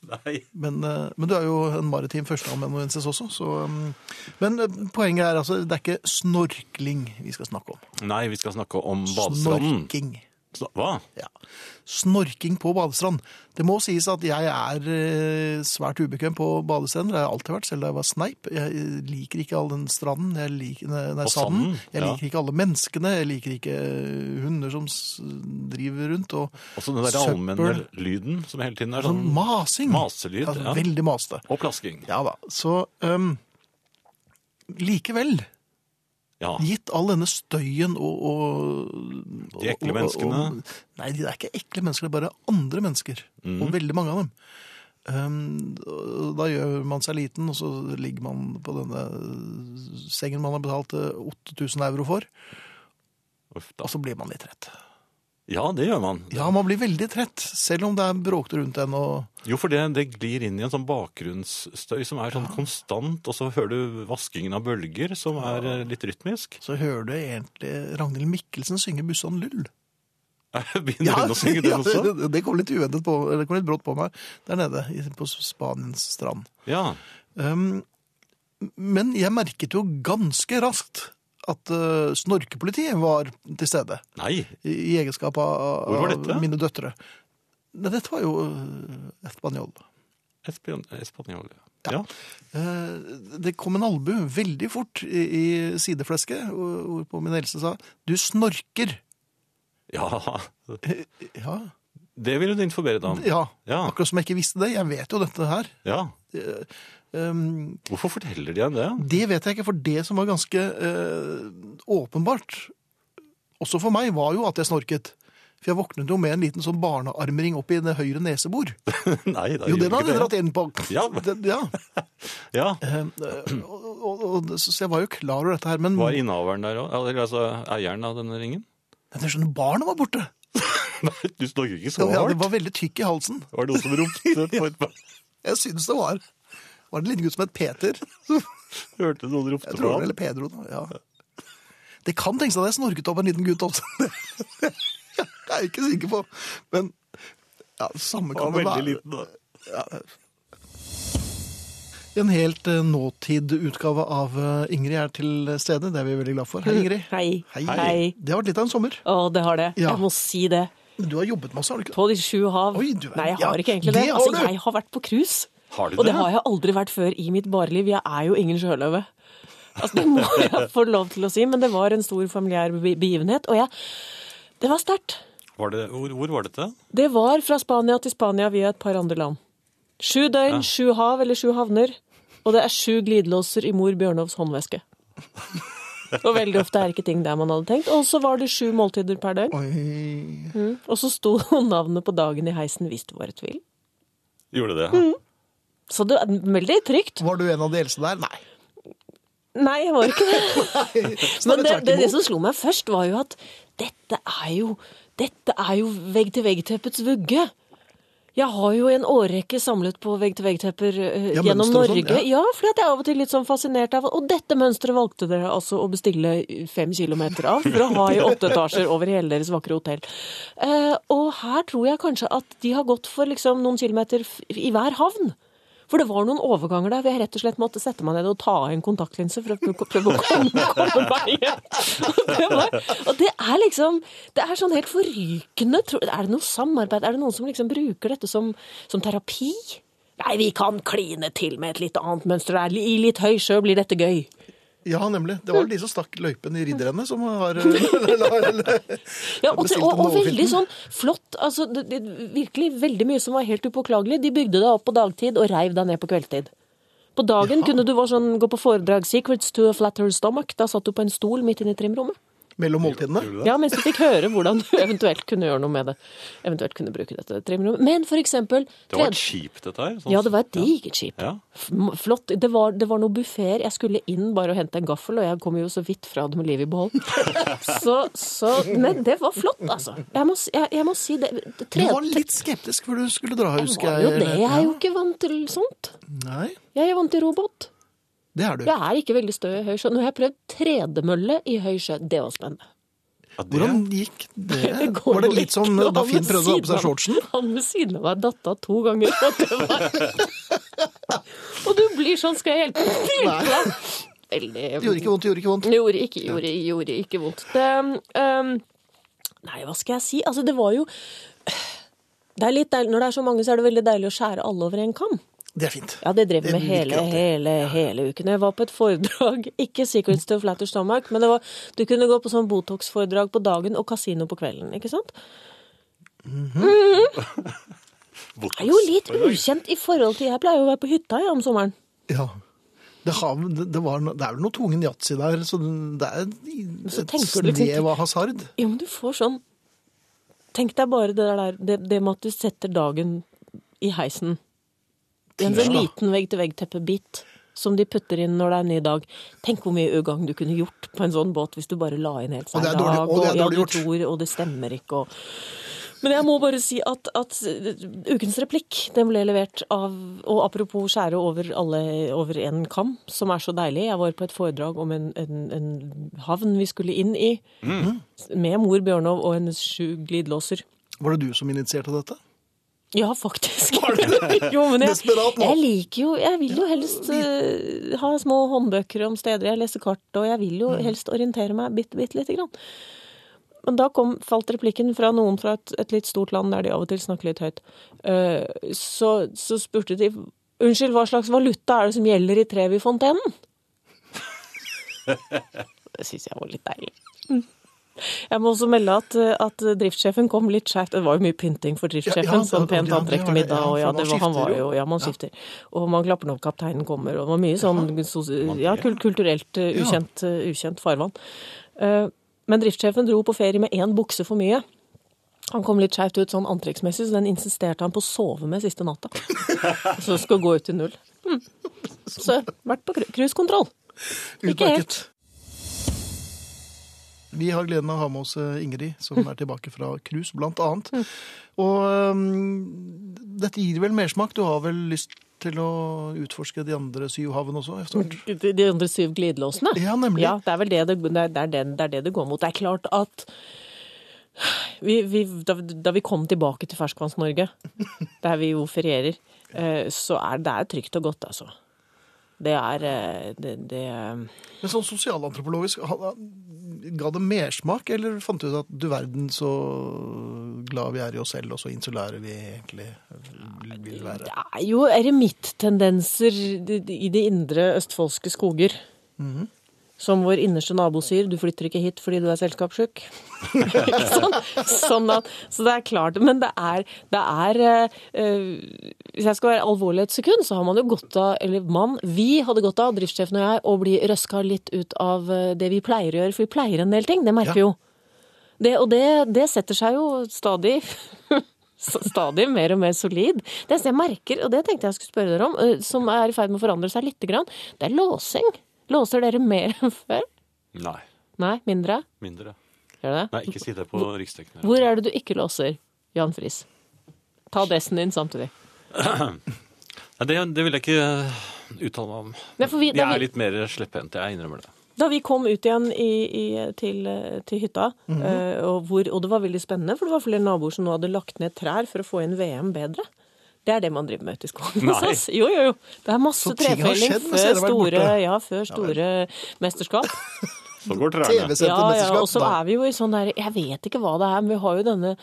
[SPEAKER 3] Nei.
[SPEAKER 2] Men, eh, men du er jo en maritim førsteamanuensis også, så um, Men eh, poenget er altså, det er ikke snorkling vi skal snakke om.
[SPEAKER 3] Nei, vi skal snakke om badestranden.
[SPEAKER 2] Snorking.
[SPEAKER 3] Sn- Hva?
[SPEAKER 2] Ja. Snorking på badestrand. Det må sies at jeg er eh, svært ubekvem på badestrender. Det har jeg alltid vært, selv da jeg var sneip. Jeg eh, liker ikke all den stranden. Jeg liker, nei, nei,
[SPEAKER 3] Og
[SPEAKER 2] sanden.
[SPEAKER 3] sanden,
[SPEAKER 2] Jeg
[SPEAKER 3] ja.
[SPEAKER 2] liker ikke alle menneskene. Jeg liker ikke eh, hunder som s- driver rundt. Og
[SPEAKER 3] Også den der
[SPEAKER 2] Søppel.
[SPEAKER 3] allmenne lyden som hele tiden er
[SPEAKER 2] sånn
[SPEAKER 3] sånn
[SPEAKER 2] masing.
[SPEAKER 3] maselyd.
[SPEAKER 2] Altså,
[SPEAKER 3] Ja.
[SPEAKER 2] Veldig masete.
[SPEAKER 3] Og plasking.
[SPEAKER 2] Ja da. Så um, likevel,
[SPEAKER 3] Ja.
[SPEAKER 2] gitt all denne støyen og, og
[SPEAKER 3] De ekle
[SPEAKER 2] og-
[SPEAKER 3] menneskene.
[SPEAKER 2] Og, og, nei, de er ikke ekle mennesker, det er bare andre mennesker.
[SPEAKER 3] Mhm.
[SPEAKER 2] Og veldig mange av dem. Um, og da gjør man seg liten, og så ligger man på denne sengen man har betalt eh, 8000 euro for,
[SPEAKER 3] Uff, da.
[SPEAKER 2] og så blir man litt trett.
[SPEAKER 3] ja, det gjør man.
[SPEAKER 2] Ja, man blir veldig trett, selv om det er bråkete rundt en. Og...
[SPEAKER 3] Jo, for det, det glir inn i en sånn bakgrunnsstøy som er sånn konstant, og så hører du vaskingen av bølger, som er eh, litt rytmisk.
[SPEAKER 2] Så hører du egentlig Ragnhild Mikkelsen synge 'Bussan Lull'.
[SPEAKER 3] Begynner hun å synge den
[SPEAKER 2] ja,
[SPEAKER 3] også?
[SPEAKER 2] det, det kom litt uventet på, eller det kom litt brått på meg der nede i- på Spaniens strand.
[SPEAKER 3] Ja.
[SPEAKER 2] Um, men jeg merket jo ganske raskt at eh, snorkepolitiet var til stede
[SPEAKER 3] Nei.
[SPEAKER 2] i, i egenskap av,
[SPEAKER 3] Hvor var
[SPEAKER 2] av
[SPEAKER 3] dette?
[SPEAKER 2] mine døtre. Nei, dette var jo eh, Espanol.
[SPEAKER 3] Espan- Espanjol, ja. ja.
[SPEAKER 2] Eh, det kom en albu veldig fort i, i sideflesket, hvor- hvorpå min eldste sa 'du snorker'.
[SPEAKER 3] Ja,
[SPEAKER 2] Eh, Ja,
[SPEAKER 3] det vil hun informere deg om.
[SPEAKER 2] ja.
[SPEAKER 3] Ja,
[SPEAKER 2] Akkurat som jeg ikke visste det. Jeg vet jo dette her.
[SPEAKER 3] ja.
[SPEAKER 2] Eh, Um,
[SPEAKER 3] Hvorfor forteller de henne det?
[SPEAKER 2] Det vet jeg ikke, for det som var ganske eh, åpenbart, også for meg, var jo at jeg snorket. For jeg våknet jo med en liten sånn barnearmring opp i det høyre nesebor.
[SPEAKER 3] Nei,
[SPEAKER 2] Jo, den hadde
[SPEAKER 3] da gjør hun
[SPEAKER 2] jeg
[SPEAKER 3] ikke det.
[SPEAKER 2] dratt inn på.
[SPEAKER 3] Ja.
[SPEAKER 2] Den- ja.
[SPEAKER 3] Ja,
[SPEAKER 2] Eh, og, og, og, så jeg var jo klar over dette her, men
[SPEAKER 3] var innehaveren der også? Eller altså eieren av denne ringen?
[SPEAKER 2] Men jeg skjønner, barnet sånn, var borte.
[SPEAKER 3] Nei, du snakker ikke
[SPEAKER 2] Ja,
[SPEAKER 3] så
[SPEAKER 2] det
[SPEAKER 3] hardt.
[SPEAKER 2] var veldig tykk i halsen.
[SPEAKER 3] Var det noen som ropte på et barn?
[SPEAKER 2] Jeg synes det var. Var det en liten gutt som het Peter?
[SPEAKER 3] Hørte noen ropte
[SPEAKER 2] Jeg
[SPEAKER 3] på
[SPEAKER 2] tror det,
[SPEAKER 3] ham?
[SPEAKER 2] eller Pedro, da. Ja. Det kan tenkes at jeg snorket opp en liten gutt også. jeg er ikke sikker på. Men ja, det samme
[SPEAKER 3] Han
[SPEAKER 2] kan
[SPEAKER 3] var
[SPEAKER 2] det
[SPEAKER 3] veldig
[SPEAKER 2] være.
[SPEAKER 3] liten, da.
[SPEAKER 2] En helt eh, nåtid-utgave av eh, Ingrid er til stede. Det er vi veldig glad for. Hei, Ingrid.
[SPEAKER 1] Hei.
[SPEAKER 2] Hei.
[SPEAKER 1] Hei.
[SPEAKER 2] Det har vært litt av en sommer.
[SPEAKER 1] Å, det har det.
[SPEAKER 2] Ja.
[SPEAKER 1] Jeg må si det.
[SPEAKER 2] Men Du har jobbet masse, har du ikke det?
[SPEAKER 1] På de sju hav.
[SPEAKER 2] Oi, du er-
[SPEAKER 1] Nei, jeg
[SPEAKER 2] ja,
[SPEAKER 1] har ikke egentlig det.
[SPEAKER 2] det har
[SPEAKER 1] altså,
[SPEAKER 2] du.
[SPEAKER 1] jeg har vært på cruise.
[SPEAKER 3] Har du
[SPEAKER 1] Og
[SPEAKER 3] det?
[SPEAKER 1] det har jeg aldri vært før i mitt bareliv. Jeg er jo ingen sjøløve. Altså, det må jeg få lov til å si, men det var en stor familiær be- begivenhet. Og jeg Det var sterkt.
[SPEAKER 3] Var det, hvor, hvor var dette?
[SPEAKER 1] Det var fra Spania til Spania via et par andre land. Sju døgn, sju hav eller sju havner. Og det er sju glidelåser i mor Bjørnovs håndveske. Og veldig ofte er ikke ting der man hadde tenkt. Og så var det sju måltider per døgn.
[SPEAKER 2] Oi.
[SPEAKER 1] Og så sto navnet på dagen i heisen hvis det var et tvil.
[SPEAKER 3] Gjorde det?
[SPEAKER 1] Mm, Så det var veldig trygt.
[SPEAKER 2] Var du en av de eldste der? Nei.
[SPEAKER 1] Nei, jeg var ikke det. Men
[SPEAKER 2] Snarere
[SPEAKER 1] det,
[SPEAKER 2] tvert
[SPEAKER 1] det, det
[SPEAKER 2] imot.
[SPEAKER 1] som slo meg først, var jo at dette er jo, dette er jo vegg-til-vegg-teppets vugge. Jeg har jo i en årrekke samlet på vegg-til-vegg-tepper eh,
[SPEAKER 2] Ja,
[SPEAKER 1] gjennom
[SPEAKER 2] mønster og
[SPEAKER 1] Norge.
[SPEAKER 2] sånn,
[SPEAKER 1] ja. fordi at jeg er av og til litt sånn fascinert av Og dette mønsteret valgte dere altså å bestille fem kilometer av for å ha i åtte etasjer over hele deres vakre hotell. Eh, og her tror jeg kanskje at de har gått for liksom noen kilometer f- i hver havn. For det var noen overganger der hvor jeg rett og slett måtte sette meg ned og ta av en kontaktlinse for å prøve prøve å komme, komme meg hjem. Og det, var, og det er liksom Det er sånn helt forrykende tro- Er det noe samarbeid? Er det noen som liksom bruker dette som, som terapi? Nei, vi kan kline til med et litt annet mønster. Det er I litt høy sjø blir dette gøy.
[SPEAKER 2] Ja, nemlig. Det var vel de som stakk løypen i ridderrennet som har eh,
[SPEAKER 1] Ja, og,
[SPEAKER 2] bestilte
[SPEAKER 1] og, og
[SPEAKER 2] den
[SPEAKER 1] veldig sånn flott. altså det, det, Virkelig veldig mye som var helt upåklagelig. De bygde deg opp på dagtid og reiv deg ned på kveldtid. På dagen kunne du være sånn, gå på foredrag 'Secrets to a Flatter Stomach'. Da satt du på en stol midt inne i trimrommet.
[SPEAKER 2] mellom måltidene.
[SPEAKER 1] Ja, mens du fikk høre hvordan du eventuelt kunne gjøre noe med det. Eventuelt kunne bruke dette trimrommet. Men for eksempel
[SPEAKER 3] Det var
[SPEAKER 1] tredje-
[SPEAKER 3] et skip, dette her. sånn-
[SPEAKER 1] Ja, det var et digert skip.
[SPEAKER 3] Ja.
[SPEAKER 1] F- m- Flott. Det var, det var noen buffeer. Jeg skulle inn bare og hente en gaffel, og jeg kom jo så vidt fra det med livet i behold. så, så Men det var flott, altså. Jeg må, s- jeg, jeg må si det. det
[SPEAKER 2] Du
[SPEAKER 1] Tre,
[SPEAKER 2] var litt skeptisk før du skulle dra,
[SPEAKER 1] jeg
[SPEAKER 2] husker
[SPEAKER 1] var jo
[SPEAKER 2] jeg.
[SPEAKER 1] det. Jeg er jo ikke vant til sånt.
[SPEAKER 2] Nei,
[SPEAKER 1] Jeg er vant til robot.
[SPEAKER 2] det er du.
[SPEAKER 1] Jeg er ikke veldig stø i høy sjø. Nå har jeg prøvd tredemølle i høy sjø. Det var spennende.
[SPEAKER 3] Ja, det-
[SPEAKER 2] Hvordan gikk det?
[SPEAKER 1] går
[SPEAKER 2] Var det
[SPEAKER 1] jo
[SPEAKER 2] litt
[SPEAKER 1] ikke.
[SPEAKER 2] som
[SPEAKER 1] Og
[SPEAKER 2] da
[SPEAKER 1] han
[SPEAKER 2] Finn
[SPEAKER 1] ved
[SPEAKER 2] prøvde å ha
[SPEAKER 1] siden
[SPEAKER 2] på seg
[SPEAKER 1] av-
[SPEAKER 2] shortsen?
[SPEAKER 1] Han ved siden av meg datt av to ganger. Og, det var... og du blir sånn, skal jeg hjelpe hjelpe deg? Veldig
[SPEAKER 2] Det gjorde ikke vondt, det gjorde ikke vondt.
[SPEAKER 1] Gjorde ikke, gjorde, gjorde ikke vondt. Det, um, Nei, hva skal jeg si? Altså, det var jo det er litt deilig, Når det er så mange, så er det veldig deilig å skjære alle over en kam.
[SPEAKER 2] Det er fint.
[SPEAKER 1] Ja, det drev vi
[SPEAKER 2] Det
[SPEAKER 1] med
[SPEAKER 2] liker jeg
[SPEAKER 1] hele,
[SPEAKER 2] alltid.
[SPEAKER 1] hele, hele uken. Jeg var på et foredrag, ikke Secrets to a Flatter Stomach, men det var, du kunne gå på sånn Botox-foredrag på dagen og kasino på kvelden, ikke sant? Det er jo litt ukjent i forhold til Jeg pleier jo å være på hytta jeg, om sommeren.
[SPEAKER 2] Ja. Det, har, det, det var, no- det er vel noe tvungen yatzy der, så det er
[SPEAKER 1] så
[SPEAKER 2] et
[SPEAKER 1] tenker du liksom ikke-
[SPEAKER 2] snev av hasard.
[SPEAKER 1] Jo, men du får sånn Tenk deg bare det der det, det med at du setter dagen i heisen. I en sånn
[SPEAKER 2] Ja.
[SPEAKER 1] liten vegg-til-vegg-teppebit som de putter inn når det er en ny dag. Tenk hvor mye ugagn du kunne gjort på en sånn båt hvis du bare la inn helt
[SPEAKER 2] Og det
[SPEAKER 1] hver
[SPEAKER 2] er
[SPEAKER 1] dag.
[SPEAKER 2] dårlig- og det er
[SPEAKER 1] ja,
[SPEAKER 2] dårlig
[SPEAKER 1] du
[SPEAKER 2] gjort.
[SPEAKER 1] tror, og det stemmer ikke, og Men jeg må bare si at, at ukens replikk, den ble levert av Og apropos skjære over alle over en kam, som er så deilig. Jeg var på et foredrag om en, en, en havn vi skulle inn i. Med mor Bjørnov og hennes sju glidelåser.
[SPEAKER 2] Var det du som initierte dette?
[SPEAKER 1] Ja, faktisk. jo, men jeg,
[SPEAKER 2] Desperat nå.
[SPEAKER 1] jeg liker jo Jeg vil jo helst eh, ha små håndbøker om steder jeg leser kart, og jeg vil jo
[SPEAKER 2] Mm.
[SPEAKER 1] helst orientere meg bitte, bitte lite grann. Men da kom, falt replikken fra noen fra et, et litt stort land der de av og til snakker litt høyt. Eh, så, så spurte de Unnskyld, hva slags valuta er det som gjelder i Trevi-fontenen? Det syns jeg var litt deilig.
[SPEAKER 2] Mm.
[SPEAKER 1] Jeg må også melde at, at driftssjefen kom litt skjevt. Det var jo mye pynting for driftssjefen.
[SPEAKER 2] Ja, ja,
[SPEAKER 1] sånn
[SPEAKER 2] det-
[SPEAKER 1] pent
[SPEAKER 2] ja, det
[SPEAKER 1] antrekk
[SPEAKER 2] var
[SPEAKER 1] til
[SPEAKER 2] det,
[SPEAKER 1] middag,
[SPEAKER 2] ja,
[SPEAKER 1] og ja,
[SPEAKER 2] for man
[SPEAKER 1] det var, han var
[SPEAKER 2] skifter
[SPEAKER 1] jo
[SPEAKER 2] jo.
[SPEAKER 1] Ja, man skifter. Og man klapper når kapteinen kommer, og det var mye sånn sos- ja, kul- kulturelt eh,
[SPEAKER 2] Ja.
[SPEAKER 1] ukjent, eh, ukjent farvann. Eh, Men driftssjefen dro på ferie med én bukse for mye. Han kom litt skjevt ut sånn antrekksmessig, så den insisterte han på å sove med siste natta. Så det skulle gå ut til null. Mm. Så vært på cru- cruisekontroll.
[SPEAKER 2] Utmerket. Vi har gleden av å ha med oss eh, Ingrid, som er tilbake fra cruise, blant annet.
[SPEAKER 1] Mm.
[SPEAKER 2] Og ehm, dette gir vel mersmak. Du har vel lyst til å utforske de andre syv havene også? etter hvert?
[SPEAKER 1] De de andre syv glidelåsene?
[SPEAKER 2] Ja, nemlig.
[SPEAKER 1] Mm. Ja, det er vel det det, det, er, det, er det, det er det det går mot. Det er klart at vi, vi, da, da vi kom tilbake til Ferskvanns-Norge, der vi jo ferierer, eh, så er det er trygt og godt, altså. Det er eh, det, det
[SPEAKER 2] Men sånn sosialantropologisk, ha- ga det mersmak, eller fant du ut at du verden så glad vi er i oss selv, og så insulære vi egentlig vil være?
[SPEAKER 1] Det er jo eremittendenser i de indre østfoldske skoger. Som vår innerste nabo sier, du flytter ikke hit fordi du er selskapssjuk. Ikke sant? sånn at, så det er klart. Men det er, det er eh, eh, Hvis jeg skal være alvorlig et sekund, så har man jo godt av, eller mann, vi hadde godt av, driftssjefen og jeg, å bli røska litt ut av eh, det vi pleier å gjøre. For vi pleier en del ting, det merker vi jo. Det, og det, det setter seg jo stadig Stadig mer og mer solid. Det eneste jeg merker, og det tenkte jeg skulle spørre dere om, eh, som er i ferd med å forandre seg lite grann, det er låsing. Låser dere mer enn før?
[SPEAKER 3] Nei,
[SPEAKER 1] Nei, mindre?
[SPEAKER 3] mindre.
[SPEAKER 1] Gjør det?
[SPEAKER 3] Nei, ikke si det på riksdekkende.
[SPEAKER 1] Hvor er det du ikke låser, Jan Friis? Ta dessen din samtidig.
[SPEAKER 3] Nei, det, det vil jeg ikke eh, uttale meg om.
[SPEAKER 1] Nei, for vi- det
[SPEAKER 3] jeg
[SPEAKER 1] er vi-
[SPEAKER 3] er litt mer slepphendt, jeg innrømmer det.
[SPEAKER 1] Da vi kom ut igjen i, i, til, eh, til hytta,
[SPEAKER 2] Mhm.
[SPEAKER 1] eh, og, hvor, og det var veldig spennende, for det var flere naboer som nå hadde lagt ned trær for å få inn VM bedre. Det er det man driver med ute i skogen hos
[SPEAKER 3] Nei.
[SPEAKER 1] oss. Jo, jo, jo. Det er masse
[SPEAKER 2] Så ting har
[SPEAKER 1] trefelling
[SPEAKER 2] skjedd mens
[SPEAKER 1] før
[SPEAKER 2] dere har vært
[SPEAKER 1] store,
[SPEAKER 2] borte.
[SPEAKER 1] ja, før store mesterskap.
[SPEAKER 3] Så går trærne.
[SPEAKER 2] TV-sendte
[SPEAKER 1] Ja, ja, og
[SPEAKER 2] mesterskap.
[SPEAKER 1] så
[SPEAKER 2] da.
[SPEAKER 1] er vi jo i sånn der Jeg vet ikke hva det er, men vi har jo denne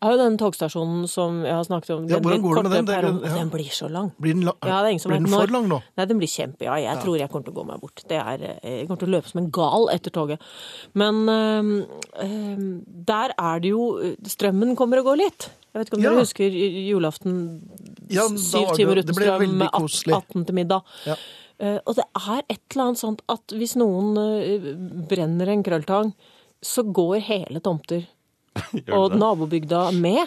[SPEAKER 1] jeg har jo denne togstasjonen som jeg har snakket om.
[SPEAKER 2] Ja, hvordan går det med
[SPEAKER 1] korte
[SPEAKER 2] den? Det er-
[SPEAKER 1] perrongen-
[SPEAKER 2] ja.
[SPEAKER 1] den blir så lang.
[SPEAKER 2] Blir den, la
[SPEAKER 1] Ja, det er ingen som
[SPEAKER 2] blir
[SPEAKER 1] vet
[SPEAKER 2] den
[SPEAKER 1] når.
[SPEAKER 2] for lang nå?
[SPEAKER 1] Nei, den blir kjempe... Ja, jeg tror jeg kommer til å gå meg bort. Det er, eh, jeg kommer til å løpe som en gal etter toget. Men øhm, øhm, der er det jo eh, Strømmen kommer og går litt. Jeg vet ikke om
[SPEAKER 2] Ja.
[SPEAKER 1] dere husker julaften.
[SPEAKER 2] Ja, da
[SPEAKER 1] syv
[SPEAKER 2] var det-
[SPEAKER 1] timer
[SPEAKER 2] det
[SPEAKER 1] uten
[SPEAKER 2] ble
[SPEAKER 1] strøm,
[SPEAKER 2] veldig
[SPEAKER 1] 18,
[SPEAKER 2] koselig.
[SPEAKER 1] 18 til middag.
[SPEAKER 2] Ja.
[SPEAKER 1] Eh, og det er et eller annet sånt at hvis noen eh, brenner en krølltang, så går hele tomter
[SPEAKER 3] Gjør
[SPEAKER 1] og
[SPEAKER 3] det?
[SPEAKER 1] nabobygda med.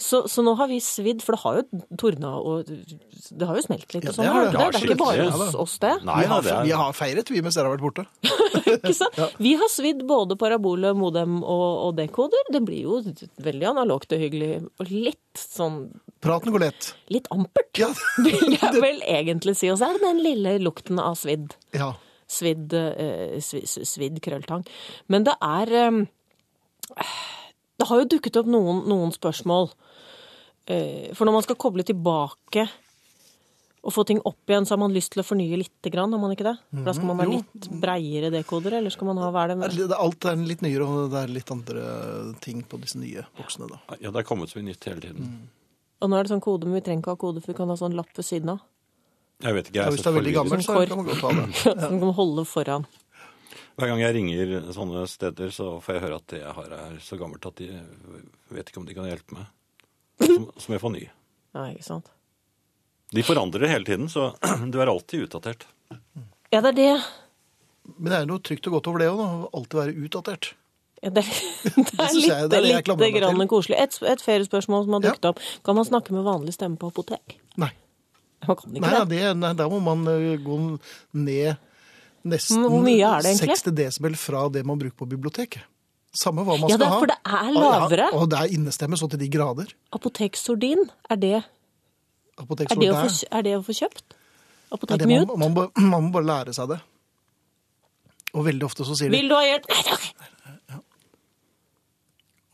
[SPEAKER 1] Så, så nå har vi svidd, for det har jo tordna og Det har jo smelt litt.
[SPEAKER 2] Ja,
[SPEAKER 1] og sånn,
[SPEAKER 2] det
[SPEAKER 1] har
[SPEAKER 2] har
[SPEAKER 1] det,
[SPEAKER 2] det.
[SPEAKER 1] det, det er ikke
[SPEAKER 3] Ja,
[SPEAKER 1] bare
[SPEAKER 3] skikkelig.
[SPEAKER 1] hos oss, det.
[SPEAKER 3] Nei,
[SPEAKER 2] vi,
[SPEAKER 3] nei,
[SPEAKER 2] har,
[SPEAKER 3] det er
[SPEAKER 2] vi har feiret, vi, mens dere har vært borte.
[SPEAKER 1] Ikke sant? Vi har svidd både paraboler, modem og, og dekoder. Det blir jo veldig analogt og hyggelig. Og litt sånn
[SPEAKER 2] Praten går lett.
[SPEAKER 1] Litt ampert,
[SPEAKER 2] Ja,
[SPEAKER 1] vil jeg vel egentlig si. Og så er det den lille lukten av svidd.
[SPEAKER 2] ja.
[SPEAKER 1] svidd, eh, svi- svidd krølltang. Men det er eh, Det har jo dukket opp noen, noen spørsmål. Eh, for når man skal koble tilbake å få ting opp igjen, så har man lyst til å fornye lite grann, har man ikke det? For da skal man ha
[SPEAKER 2] jo.
[SPEAKER 1] litt breiere dekoder, eller skal man ha hva er det?
[SPEAKER 2] Det- det- Alt er litt nyere, og det er litt andre ting på disse nye boksene. da.
[SPEAKER 3] Ja, det er kommet så mye nytt hele tiden.
[SPEAKER 2] Mm.
[SPEAKER 1] Og nå er det sånn kode, men vi trenger ikke ha kode, for vi kan ha sånn lapp ved siden av.
[SPEAKER 3] Jeg vet ikke,
[SPEAKER 2] Ja,
[SPEAKER 3] jeg
[SPEAKER 2] hvis det er veldig
[SPEAKER 3] forvirret.
[SPEAKER 2] gammel, så kan man godt ha det.
[SPEAKER 1] Som du kan holde foran.
[SPEAKER 3] Hver gang jeg ringer sånne steder, så får jeg høre at det jeg har er så gammelt at de vet ikke om de kan hjelpe meg. Som, som jeg får ny.
[SPEAKER 1] Ja, ikke sant?
[SPEAKER 3] De forandrer det hele tiden, så du er alltid utdatert.
[SPEAKER 1] Ja, det er det.
[SPEAKER 2] Men det er noe trygt og godt over det òg, da. Alltid være utdatert.
[SPEAKER 1] Ja, Det er, det er
[SPEAKER 2] synes
[SPEAKER 1] litt,
[SPEAKER 2] jeg- det er det jeg klamrer
[SPEAKER 1] lite
[SPEAKER 2] meg til.
[SPEAKER 1] grann koselig. Et, et feriespørsmål som har
[SPEAKER 2] Ja.
[SPEAKER 1] dukket opp. Kan man snakke med vanlig stemme på apotek?
[SPEAKER 2] Nei.
[SPEAKER 1] Man kan ikke
[SPEAKER 2] Nei, ja,
[SPEAKER 1] det.
[SPEAKER 2] det, nei, da må man ø, gå ned nesten
[SPEAKER 1] Hvor mye er det egentlig?
[SPEAKER 2] 60 desibel fra det man bruker på biblioteket. Samme hva man
[SPEAKER 1] Ja,
[SPEAKER 2] skal
[SPEAKER 1] det er
[SPEAKER 2] ha.
[SPEAKER 1] for det
[SPEAKER 2] Ah,
[SPEAKER 1] er lavere.
[SPEAKER 2] Ja, og det er innestemme så til de grader.
[SPEAKER 1] Apoteksordin, er det, er,
[SPEAKER 2] Apoteksord
[SPEAKER 1] det å
[SPEAKER 2] der.
[SPEAKER 1] få, er det å få kjøpt?
[SPEAKER 2] Ja, det man,
[SPEAKER 1] Apotekmute?
[SPEAKER 2] man, må- man må bare lære seg det. Og veldig ofte så sier de
[SPEAKER 1] Vil du ha hjelp? Nei takk!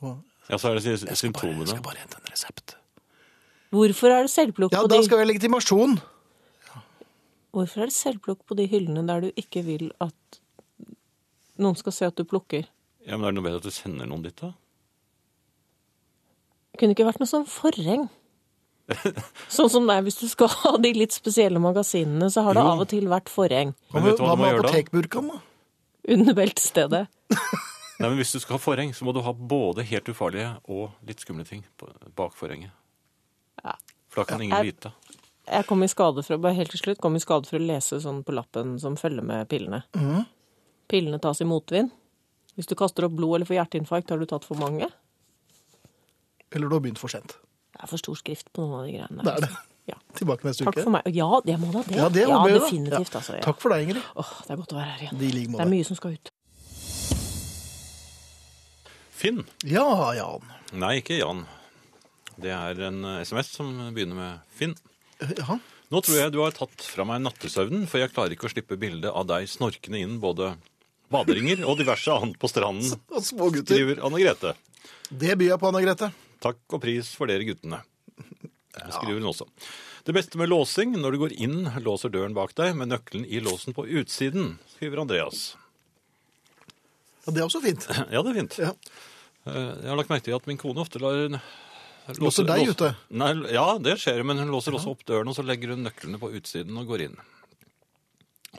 [SPEAKER 2] «Å,
[SPEAKER 3] Ja, så er det sy-
[SPEAKER 2] jeg skal bare, jeg
[SPEAKER 3] symptomene.
[SPEAKER 2] skal bare hente en resept.
[SPEAKER 1] Hvorfor er det selvplukk
[SPEAKER 2] Ja,
[SPEAKER 1] på
[SPEAKER 2] da
[SPEAKER 1] de
[SPEAKER 2] skal vi ha legitimasjon.
[SPEAKER 1] Hvorfor er det selvplukk på de hyllene der du ikke vil at noen skal se at du plukker?
[SPEAKER 3] Ja, men er det noe bedre at du sender noen dit, da?
[SPEAKER 1] Det kunne ikke vært noe sånn forheng. Sånn som det er hvis du skal ha de litt spesielle magasinene, så har det
[SPEAKER 3] Jo.
[SPEAKER 1] av og til vært forheng
[SPEAKER 2] Hva
[SPEAKER 3] Men
[SPEAKER 2] med
[SPEAKER 3] vet du hva
[SPEAKER 2] hva
[SPEAKER 3] du må
[SPEAKER 2] med
[SPEAKER 3] gjøre da?
[SPEAKER 2] apotekburkaen, da?
[SPEAKER 1] under beltestedet.
[SPEAKER 3] Nei, men Hvis du skal ha forheng, så må du ha både helt ufarlige og litt skumle ting på- bak forhenget.
[SPEAKER 1] Ja.
[SPEAKER 3] For da kan ingen
[SPEAKER 1] Jeg-
[SPEAKER 3] vite.
[SPEAKER 1] Jeg kom i skade for, å- bare helt til slutt, kom i skade for å lese sånn på lappen som følger med pillene.
[SPEAKER 2] Mhm.
[SPEAKER 1] Pillene tas i motvind. Hvis du kaster opp blod eller får hjerteinfarkt, har du tatt for mange. Det
[SPEAKER 2] Eller du har begynt for sent.
[SPEAKER 1] er for stor skrift på noen av de greiene.
[SPEAKER 2] Det er det.
[SPEAKER 1] Ja.
[SPEAKER 2] Tilbake neste
[SPEAKER 1] Takk
[SPEAKER 2] uke.
[SPEAKER 1] for meg. Ja, jeg må da det.
[SPEAKER 2] Ja, det må vi gjøre. da.
[SPEAKER 1] definitivt.
[SPEAKER 2] Ja.
[SPEAKER 1] Altså, ja.
[SPEAKER 2] Takk for deg, Ingrid.
[SPEAKER 1] Åh, det er godt å være her igjen.
[SPEAKER 2] Det i like
[SPEAKER 1] Det er
[SPEAKER 2] måte.
[SPEAKER 1] mye som skal ut.
[SPEAKER 3] Finn?
[SPEAKER 2] Ja, Jan.
[SPEAKER 3] Nei, ikke Jan. Det er en eh, SMS som begynner med Finn.
[SPEAKER 2] Ja.
[SPEAKER 3] Nå tror jeg du har tatt fra meg nattesøvnen, for jeg klarer ikke å slippe bildet av deg snorkende inn både baderinger og diverse annet på stranden,
[SPEAKER 2] Og smågutter.
[SPEAKER 3] skriver Anne Grete.
[SPEAKER 2] Det byr jeg på, Anne Grete.
[SPEAKER 3] Takk og pris for dere guttene. Jeg skriver hun også. Det beste med låsing, når du går inn, låser døren bak deg med nøkkelen i låsen på utsiden, skriver Andreas.
[SPEAKER 2] Ja, det er også fint.
[SPEAKER 3] Ja, det er fint.
[SPEAKER 2] Ja.
[SPEAKER 3] Eh, Jeg har lagt merke til at min kone ofte lar
[SPEAKER 2] Låser deg ute?
[SPEAKER 3] Nei, ja, det skjer, men hun låser også opp døren, og så legger hun nøklene på utsiden og går inn.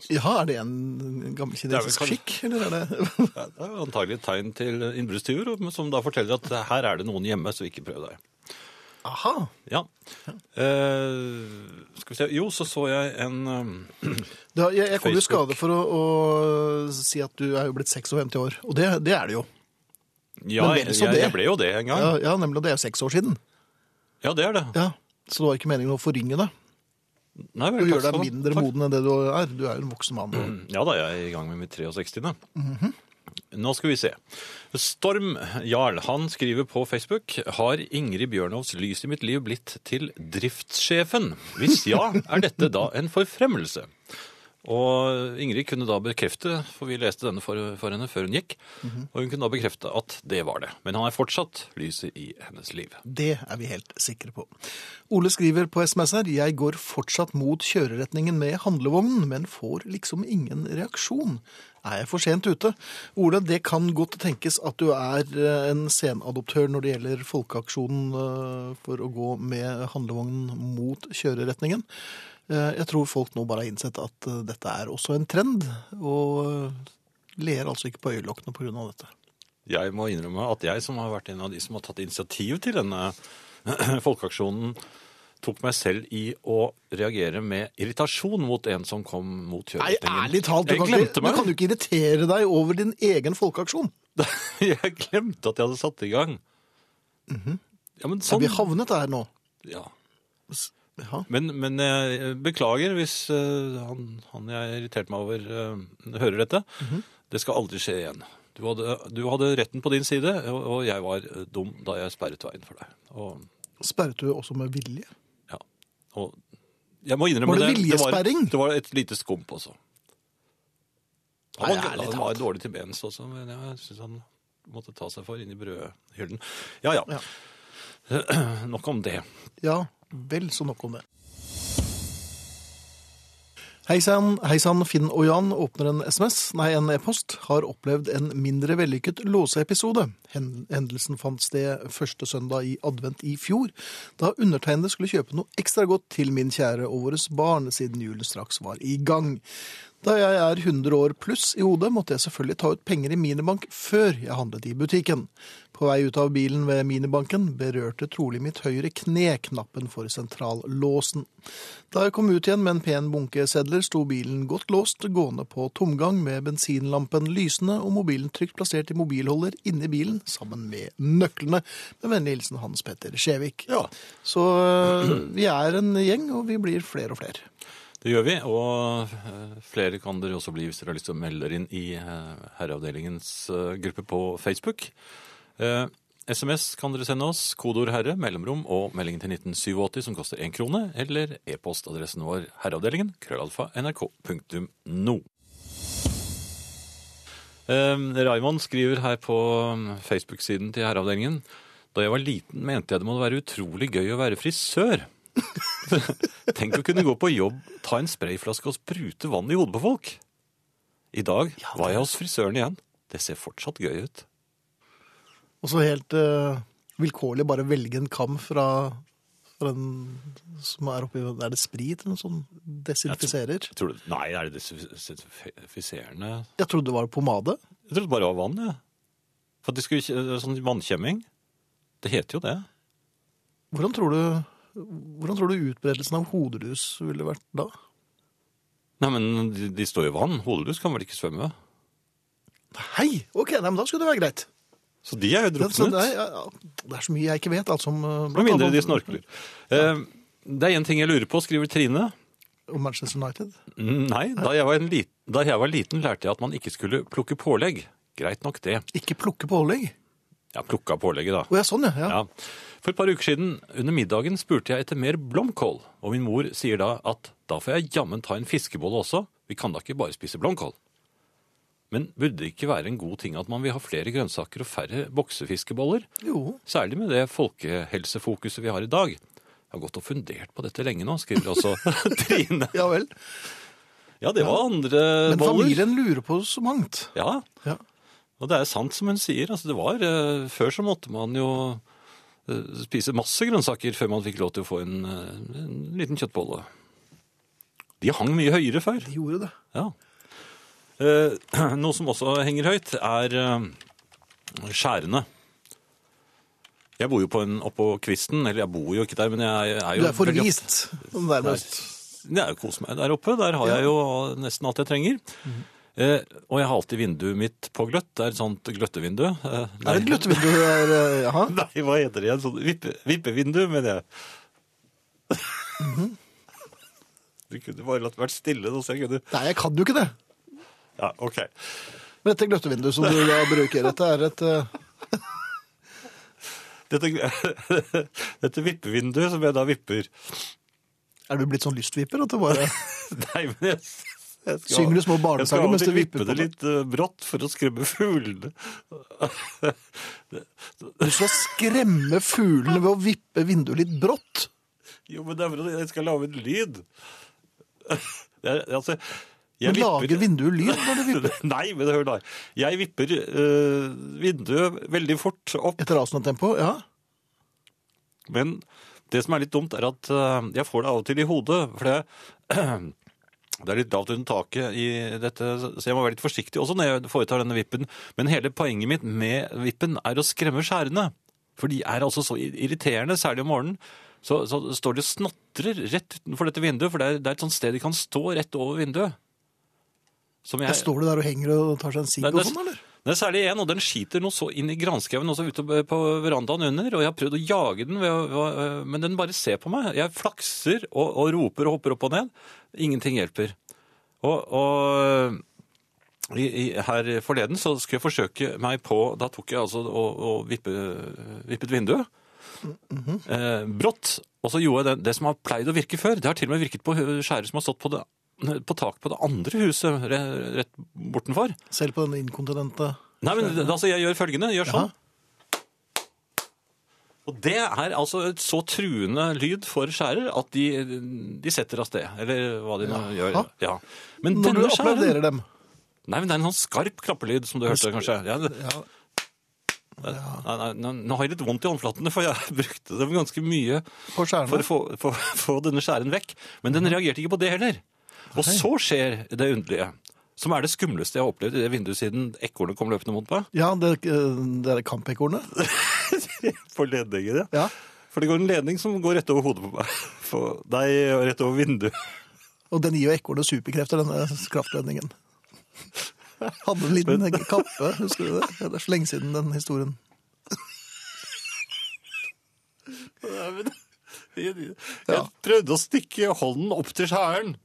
[SPEAKER 2] Ja, er det en gammel kinesisk
[SPEAKER 3] Det er vel
[SPEAKER 2] skikk, eller er det
[SPEAKER 3] Ja, Det er jo antagelig et tegn til innbruddstyver, og- som da forteller at her er det noen hjemme, så ikke prøv deg.
[SPEAKER 2] Aha!
[SPEAKER 3] Ja. Eh, skal vi se Jo, så så jeg en eh,
[SPEAKER 2] Da, jeg, jeg kom jo i
[SPEAKER 3] Facebook.
[SPEAKER 2] skade for å, å si at du er jo blitt 56 år, og det, det er det jo.
[SPEAKER 3] Ja,
[SPEAKER 2] Men
[SPEAKER 3] jeg,
[SPEAKER 2] vel så
[SPEAKER 3] jeg,
[SPEAKER 2] det.
[SPEAKER 3] ble jo det en gang.
[SPEAKER 2] Ja,
[SPEAKER 3] Ja,
[SPEAKER 2] ja nemlig, og det er jo seks år siden.
[SPEAKER 3] det er det.
[SPEAKER 2] Ja, Så det var ikke meningen å forringe deg.
[SPEAKER 3] Nei,
[SPEAKER 2] Du
[SPEAKER 3] vel, takk
[SPEAKER 2] gjør deg
[SPEAKER 3] skal ha.
[SPEAKER 2] mindre
[SPEAKER 3] Takk.
[SPEAKER 2] moden enn det du er. Du er jo en voksen mann. og-
[SPEAKER 3] Mm. Ja da, jeg er i gang med mitt 63. Nå skal vi se. Storm Jarl han skriver på Facebook Har Ingrid Bjørnovs lys i mitt liv blitt til driftssjefen? Hvis ja, er dette da en forfremmelse? Og Ingrid kunne da bekrefte, for vi leste denne for, for henne før hun gikk, og hun kunne da bekrefte at det var det. Men han er fortsatt lyset i hennes liv.
[SPEAKER 2] Det er vi helt sikre på. Ole skriver på SMS her Jeg går fortsatt mot kjøreretningen med handlevognen, men får liksom ingen reaksjon. Er jeg for sent ute? Ole, det kan godt tenkes at du er eh, en senadoptør når det gjelder folkeaksjonen eh, for å gå med handlevognen mot kjøreretningen. Eh, Jeg tror folk nå bare har innsett at eh, dette er også en trend, og eh, ler altså ikke på øyelokkene pga. dette.
[SPEAKER 3] Jeg må innrømme at jeg som har vært en av de som har tatt initiativ til denne folkeaksjonen, tok meg selv i å reagere med irritasjon mot en som kom mot
[SPEAKER 2] Nei,
[SPEAKER 3] kjøreretningen.
[SPEAKER 2] ærlig talt, du
[SPEAKER 3] jeg
[SPEAKER 2] kan, ikke,
[SPEAKER 3] glemte
[SPEAKER 2] du
[SPEAKER 3] meg.
[SPEAKER 2] kan jo ikke irritere deg over din egen folkeaksjon.
[SPEAKER 3] Jeg glemte at jeg hadde satt i gang. Ja, men
[SPEAKER 2] Er
[SPEAKER 3] sånn...
[SPEAKER 2] Mhm. Vi havnet der nå.
[SPEAKER 3] Ja.
[SPEAKER 2] Ja.
[SPEAKER 3] Men, men jeg beklager hvis eh, han, han jeg irriterte meg over, eh, hører dette.
[SPEAKER 2] Mhm.
[SPEAKER 3] Det skal aldri skje igjen. Du hadde, du hadde retten på din side, og, og jeg var eh, dum da jeg sperret veien for deg. Og,
[SPEAKER 2] Sperret du også med vilje?
[SPEAKER 3] Ja. Og jeg må innrømme
[SPEAKER 2] Var det
[SPEAKER 3] var,
[SPEAKER 2] viljesperring?
[SPEAKER 3] det var et lite skump også. Han
[SPEAKER 2] Nei,
[SPEAKER 3] var,
[SPEAKER 2] ærlig
[SPEAKER 3] han
[SPEAKER 2] talt.
[SPEAKER 3] var dårlig til bens også, men jeg syns han måtte ta seg for inn i brødhyllen. Ja, ja. Nok om det.
[SPEAKER 2] Ja, vel så nok om det. Hei sann, hei sann, Finn og Jan åpner en SMS, nei, en e-post, har opplevd en mindre vellykket låseepisode. Hen- Hendelsen fant sted første søndag i advent i fjor, da undertegnede skulle kjøpe noe ekstra godt til min kjære og våres barn, siden julen straks var i gang. Da jeg er 100 år pluss i hodet, måtte jeg selvfølgelig ta ut penger i minibank før jeg handlet i butikken. På vei ut av bilen ved minibanken berørte trolig mitt høyre kne knappen for sentrallåsen. Da jeg kom ut igjen med en pen bunke sedler, sto bilen godt låst, gående på tomgang med bensinlampen lysende og mobilen trygt plassert i mobilholder inni bilen sammen med nøklene. Med vennlig hilsen Hans Petter Skjevik.
[SPEAKER 3] Ja.
[SPEAKER 2] Så øh, vi er en gjeng, og vi blir flere og flere.
[SPEAKER 3] Det gjør vi, og eh, flere kan dere også bli hvis dere har lyst til å melde dere inn i eh, herreavdelingens eh, gruppe på Facebook. Eh, SMS kan dere sende oss, kodeord 'herre', mellomrom og meldingen til 1987 som koster én krone, eller e-postadressen vår herreavdelingen krøllalfa nrk.no. Eh, Raymond skriver her på mm, Facebook-siden til herreavdelingen da jeg var liten, mente jeg det måtte være utrolig gøy å være frisør. Tenk å kunne gå på jobb, ta en sprayflaske og sprute vann i hodet på folk. I dag var jeg hos frisøren igjen. Det ser fortsatt gøy ut.
[SPEAKER 2] Og så helt eh, vilkårlig bare velge en kam fra, fra den som er oppi Er det sprit eller noe sånt? Desinfiserer?
[SPEAKER 3] Tror du, nei, er det desinfiserende
[SPEAKER 2] Jeg trodde det var pomade.
[SPEAKER 3] Jeg trodde bare det var vann, jeg. For at det skulle, ikke- sånn vannkjemming. Det heter jo det.
[SPEAKER 2] Hvordan tror du, hvordan tror du utbredelsen av hodelus ville vært da?
[SPEAKER 3] Nei, men de, de står jo i vann. Hodelus kan vel ikke svømme?
[SPEAKER 2] Hei! Ok, nei, men da skulle det være greit.
[SPEAKER 3] Så de er jo
[SPEAKER 2] Det, så
[SPEAKER 3] druknet.
[SPEAKER 2] det, er, ja, ja, det er så mye jeg ikke vet. Alt som, eh,
[SPEAKER 3] Med
[SPEAKER 2] blant
[SPEAKER 3] mindre de
[SPEAKER 2] annet om-
[SPEAKER 3] snorkler. Eh, Det er én ting jeg lurer på, skriver Trine.
[SPEAKER 2] Om Manchester United.
[SPEAKER 3] Mm, Nei, da jeg, var en liten, da jeg var liten lærte jeg at man ikke skulle plukke pålegg. Greit nok det.
[SPEAKER 2] Ikke plukke pålegg.
[SPEAKER 3] Ja, plukka pålegget da.
[SPEAKER 2] Å ja, sånn ja. ja.
[SPEAKER 3] Ja. For et par uker siden, under middagen, spurte jeg etter mer blomkål. Og min mor sier da at da får jeg jammen ta en fiskebolle også. Vi kan da ikke bare spise blomkål. Men burde det ikke være en god ting at man vil ha flere grønnsaker og færre boksefiskeboller?
[SPEAKER 2] Jo.
[SPEAKER 3] Særlig med det folkehelsefokuset vi har i dag. Jeg har gått og fundert på dette lenge nå, skriver også Trine.
[SPEAKER 2] Ja vel.
[SPEAKER 3] Ja, det var andre
[SPEAKER 2] Men
[SPEAKER 3] boller.
[SPEAKER 2] familien lurer på så mangt.
[SPEAKER 3] Ja,
[SPEAKER 2] Ja.
[SPEAKER 3] Og det er sant som hun sier. Altså, det var, eh, før så måtte man jo eh, spise masse grønnsaker før man fikk lov til å få en, eh, en liten kjøttbolle. De hang mye høyere før.
[SPEAKER 2] De gjorde det.
[SPEAKER 3] Ja. Eh, noe som også henger høyt, er eh, skjærene. Jeg bor jo på en, oppå kvisten, eller jeg bor jo ikke der, men jeg er jo
[SPEAKER 2] Du er
[SPEAKER 3] veldig ofte-
[SPEAKER 2] forvist, nærmest.
[SPEAKER 3] det er jo kos meg der oppe. Der har jeg jo nesten alt jeg trenger. Eh, og jeg har alltid vinduet mitt på gløtt. Det er et sånt gløttevindu. Eh,
[SPEAKER 2] Er det et gløttevindu der? eh, Jaha.
[SPEAKER 3] Nei, hva heter det igjen? Sånn vippe, vippevindu, mener jeg. Mhm. Du kunne bare latt vært stille, da, så jeg kunne
[SPEAKER 2] Nei, jeg kan jo ikke det.
[SPEAKER 3] Ja, OK.
[SPEAKER 2] Men dette gløttevinduet som du da bruker, dette er et eh,
[SPEAKER 3] Dette, dette vippevinduet som jeg da vipper
[SPEAKER 2] Er du blitt sånn lystvipper? At det bare
[SPEAKER 3] Nei, men jeg, jeg skal
[SPEAKER 2] Synger du små
[SPEAKER 3] Jeg skal
[SPEAKER 2] barnesanger
[SPEAKER 3] av og
[SPEAKER 2] mens du
[SPEAKER 3] til
[SPEAKER 2] vipper
[SPEAKER 3] vippe
[SPEAKER 2] på
[SPEAKER 3] det
[SPEAKER 2] det?
[SPEAKER 3] litt eh, brått for å skremme fuglene.
[SPEAKER 2] Du skal skremme fuglene ved å vippe vinduet litt brått.
[SPEAKER 3] Jo, men det er for at jeg skal lage en lyd. Det er, altså, jeg
[SPEAKER 2] Men lager vinduet lyd når du vipper?
[SPEAKER 3] Nei, men hør da. Jeg vipper eh, vinduet veldig fort opp,
[SPEAKER 2] Etter rasende tempo? Ja.
[SPEAKER 3] men det som er litt dumt er at eh, jeg får det av og til i hodet, for det, det er litt lavt under taket i dette, så jeg må være litt forsiktig også når jeg foretar denne vippen. Men hele poenget mitt med vippen er å skremme skjærene, for de er altså så irriterende, særlig om morgenen. Så, så står de og snatrer rett utenfor dette vinduet, for det er, det er et sånt sted de kan stå rett over vinduet. Som
[SPEAKER 2] Der står du der og henger og tar seg en sigg
[SPEAKER 3] Nei,
[SPEAKER 2] og
[SPEAKER 3] det,
[SPEAKER 2] sånn, eller?
[SPEAKER 3] det er særlig en, og den skiter noe så inn i granskauen og så ute på- på verandaen under. Og jeg har prøvd å jage den, ved å- ved å- men den bare ser på meg. Jeg flakser og, og roper og hopper opp og ned. Ingenting hjelper. Og, og i, i, her forleden så skulle jeg forsøke meg på Da tok jeg altså og, og vippe, vippet vinduet. eh, brått. Og så gjorde jeg det, det som har pleid å virke før. Det har til og med virket på skjærer som har stått på, det, på tak på det andre huset re- rett bortenfor.
[SPEAKER 2] Selv på denne inkontinente
[SPEAKER 3] Nei, men altså, jeg gjør følgende. Jeg Gjør sånn. Og det er altså et så truende lyd for skjærer at de, de setter av sted. Eller hva de nå gjør. Ja. Men
[SPEAKER 2] Når du
[SPEAKER 3] denne skjæren
[SPEAKER 2] applauderer dem.
[SPEAKER 3] Nei, men det er en sånn skarp klappelyd som du hørte, kanskje. Ja, det,
[SPEAKER 2] Ja.
[SPEAKER 3] Nei, nei, nei, nå har jeg litt vondt i håndflatene, for jeg brukte dem ganske mye
[SPEAKER 2] På skjærene.
[SPEAKER 3] for å få, få, få denne skjæren vekk. Men den reagerte ikke på det heller. Og så skjer det underlige, som er det skumleste jeg har opplevd i det vinduet siden ekornet kom løpende mot meg.
[SPEAKER 2] Ja, det, eh, det er kampekornet.
[SPEAKER 3] For ledningen,
[SPEAKER 2] Ja.
[SPEAKER 3] For det går en ledning som går rett over hodet på meg. For deg og rett over vinduet.
[SPEAKER 2] Og den gir jo ekornet superkrefter, denne kraftledningen. Hadde en liten kappe, husker du det? Det er så lenge siden den historien.
[SPEAKER 3] Jeg
[SPEAKER 2] Ja.
[SPEAKER 3] prøvde å stikke hånden opp til skjæren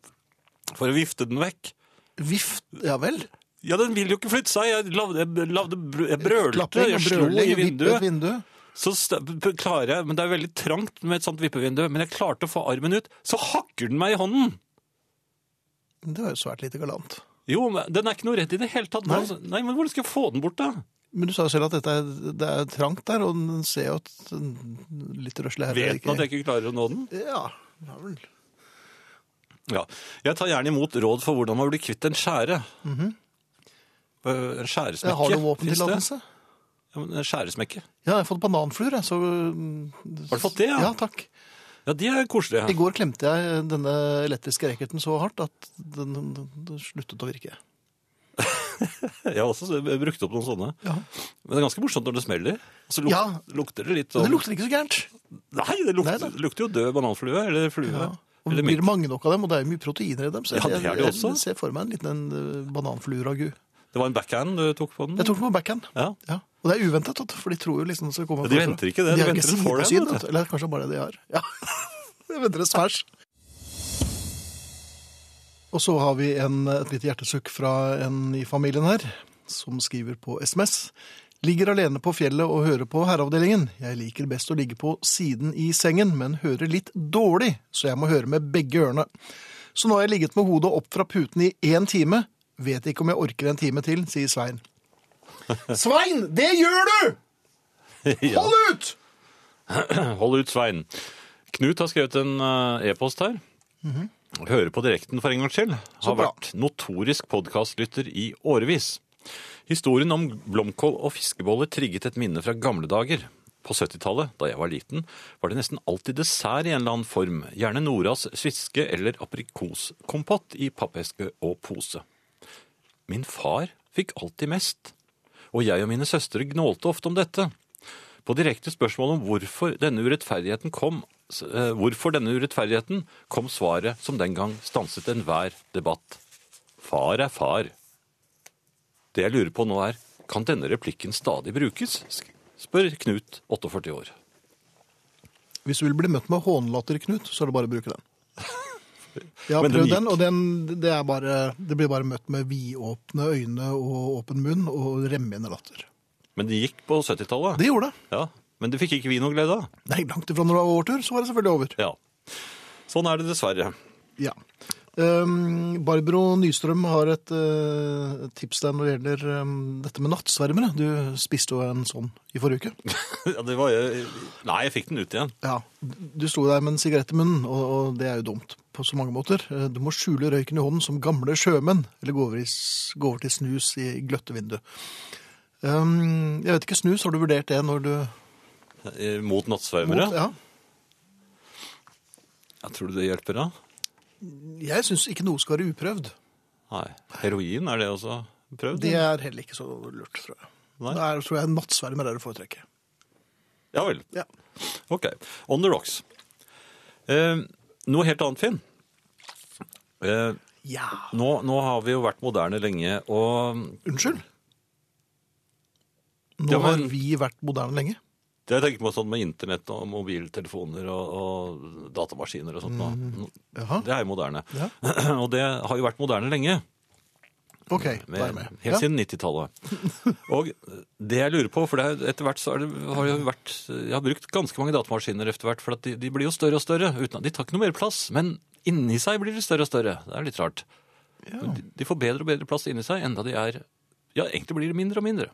[SPEAKER 3] for å vifte den vekk.
[SPEAKER 2] Vift, ja vel.
[SPEAKER 3] Ja, den ville jo ikke flytte seg. Jeg, lavde, jeg, lavde, br- jeg brølte,
[SPEAKER 2] Klapping og
[SPEAKER 3] jeg slo
[SPEAKER 2] brøling,
[SPEAKER 3] i
[SPEAKER 2] vippet
[SPEAKER 3] vinduet.
[SPEAKER 2] vindu.
[SPEAKER 3] Så st- p- klarer jeg, men Det er veldig trangt med et sånt vippevindu, men jeg klarte å få armen ut. Så hakker den meg i hånden!
[SPEAKER 2] Det var jo svært lite galant.
[SPEAKER 3] Jo, men Den er ikke noe redd i det hele tatt. Nei. Nei, men Hvordan skal jeg få den bort, da?
[SPEAKER 2] Men du sa jo selv at dette er, det er trangt der, og den ser jo at den litt røslig herre
[SPEAKER 3] Vet den at jeg ikke klarer å nå den?
[SPEAKER 2] Ja, ja vel.
[SPEAKER 3] Ja. Jeg tar gjerne imot råd for hvordan man blir kvitt en skjære. Eh, En skjæresmekke.
[SPEAKER 2] Jeg Mhm. har du
[SPEAKER 3] finnes det?
[SPEAKER 2] våpentillatelse?
[SPEAKER 3] Ja, men en skjæresmekke.
[SPEAKER 2] Ja, jeg har fått bananfluer, jeg. Så... Har
[SPEAKER 3] du fått det, ja?
[SPEAKER 2] Ja, takk.
[SPEAKER 3] Ja, de er koselige.
[SPEAKER 2] I går klemte jeg denne elektriske racketen så hardt at den, den, den sluttet å virke.
[SPEAKER 3] Jeg har også brukt opp noen sånne.
[SPEAKER 2] Ja.
[SPEAKER 3] Men det er ganske morsomt når det smeller. Og så luk
[SPEAKER 2] Ja.
[SPEAKER 3] lukter det litt
[SPEAKER 2] Men
[SPEAKER 3] sånn
[SPEAKER 2] det lukter ikke så gærent.
[SPEAKER 3] Nei, det
[SPEAKER 2] Nei
[SPEAKER 3] lukter,
[SPEAKER 2] da.
[SPEAKER 3] lukter jo død bananflue eller flue.
[SPEAKER 2] Og
[SPEAKER 3] Eller
[SPEAKER 2] det blir
[SPEAKER 3] mink.
[SPEAKER 2] det mange nok av dem, og det er jo mye proteiner i dem. Så
[SPEAKER 3] Ja, det er det
[SPEAKER 2] jeg,
[SPEAKER 3] også.
[SPEAKER 2] jeg ser for meg en liten en, eh, bananflueragu.
[SPEAKER 3] Det var en backhand du tok på den.
[SPEAKER 2] Jeg tok den på backhand.
[SPEAKER 3] Ja.
[SPEAKER 2] Ja. Og det er uventet, vet du, for de tror jo liksom det skal komme
[SPEAKER 3] Ja, de venter ikke det, de
[SPEAKER 2] har
[SPEAKER 3] venter en
[SPEAKER 2] side
[SPEAKER 3] forehand,
[SPEAKER 2] på side,
[SPEAKER 3] vet
[SPEAKER 2] vet du. altså. Eller kanskje bare det de har. Ja. de venter en smash. Og så har vi en, et lite hjertesukk fra en i familien her, som skriver på SMS. Ligger alene på fjellet og hører på herreavdelingen. Jeg liker best å ligge på siden i sengen, men hører litt dårlig, så jeg må høre med begge ørene. Så nå har jeg ligget med hodet opp fra puten i én time. Vet ikke om jeg orker en time til, sier Svein. Svein, det gjør du!
[SPEAKER 3] Ja.
[SPEAKER 2] ut!
[SPEAKER 3] Hold ut, Svein. Knut har skrevet en eh, e-post her. Hører på direkten for en gangs skyld. Har
[SPEAKER 2] bra.
[SPEAKER 3] vært notorisk podkastlytter i årevis. Historien om blomkål og fiskeboller trigget et minne fra gamle dager. På 70-tallet, da jeg var liten, var det nesten alltid dessert i en eller annen form. Gjerne Noras sviske eller aprikoskompott i pappeske og pose. Min far fikk alltid mest, og jeg og mine søstre gnålte ofte om dette. På direkte spørsmål om hvorfor denne urettferdigheten kom, s- eh, hvorfor denne urettferdigheten kom svaret som den gang stanset enhver debatt. Far er far. Det jeg lurer på nå er, kan denne replikken stadig brukes? Sk- spør Knut, 48 år.
[SPEAKER 2] Hvis du vil bli møtt med hånlatter, Knut, så er det bare å bruke den. Jeg har
[SPEAKER 3] Men den
[SPEAKER 2] prøvd
[SPEAKER 3] gikk.
[SPEAKER 2] den, og den, det, er bare, det blir bare møtt med vidåpne øyne og åpen munn og remmende latter.
[SPEAKER 3] Men det gikk på 70-tallet.
[SPEAKER 2] Det gjorde det.
[SPEAKER 3] Ja, men det fikk ikke vi noe glede av.
[SPEAKER 2] Nei, langt ifra når det var overtur, så var det selvfølgelig over.
[SPEAKER 3] Ja. Sånn er det dessverre.
[SPEAKER 2] Ja. Um, Barbro Nystrøm har et eh, tips der når det gjelder ehm, dette med nattsvermere. Du spiste jo en sånn i forrige uke.
[SPEAKER 3] Ja, det var, jeg- nei, jeg fikk den ut igjen.
[SPEAKER 2] Ja, Du sto der med en sigarett i munnen, og, og det er jo dumt på så mange måter. Eh, Du må skjule røyken i hånden som gamle sjømenn, eller gå over, i, s- gå over til snus i gløttevindu. Um, jeg vet ikke, snus, har du vurdert det når du
[SPEAKER 3] Eh, Mot
[SPEAKER 2] Mot-
[SPEAKER 3] nattsvermere.
[SPEAKER 2] ja.
[SPEAKER 3] Jeg tror du det hjelper da?
[SPEAKER 2] Jeg syns ikke noe skal være uprøvd.
[SPEAKER 3] Nei. Heroin, er det også prøvd?
[SPEAKER 2] Det er heller ikke så lurt, tror jeg.
[SPEAKER 3] Nei.
[SPEAKER 2] Det er, tror jeg nattsvermer er å foretrekke.
[SPEAKER 3] Ja vel.
[SPEAKER 2] Ja.
[SPEAKER 3] Ok. On the rocks. Eh, noe helt annet, Finn. Eh,
[SPEAKER 2] ja.
[SPEAKER 3] nå, nå har vi jo vært moderne lenge, og
[SPEAKER 2] Unnskyld? Nå
[SPEAKER 3] Ja, men-
[SPEAKER 2] har vi vært moderne lenge.
[SPEAKER 3] det jeg tenker på sånn med internett og mobiltelefoner og, og datamaskiner og sånt nå.
[SPEAKER 2] Jaha.
[SPEAKER 3] Det er jo moderne.
[SPEAKER 2] Ja.
[SPEAKER 3] Og det har jo vært moderne lenge.
[SPEAKER 2] OK, da
[SPEAKER 3] Med,
[SPEAKER 2] er jeg med.
[SPEAKER 3] Helt siden 90-tallet. Og det jeg lurer på, for det er, etter hvert så er det, har jeg, vært, jeg har brukt ganske mange datamaskiner etter hvert, for at de, de blir jo større og større. Uten, at- de tar ikke noe mer plass, men inni seg blir de større og større. Det er litt rart. De, de får bedre og bedre plass inni seg, enda de er Ja, egentlig blir det mindre og mindre.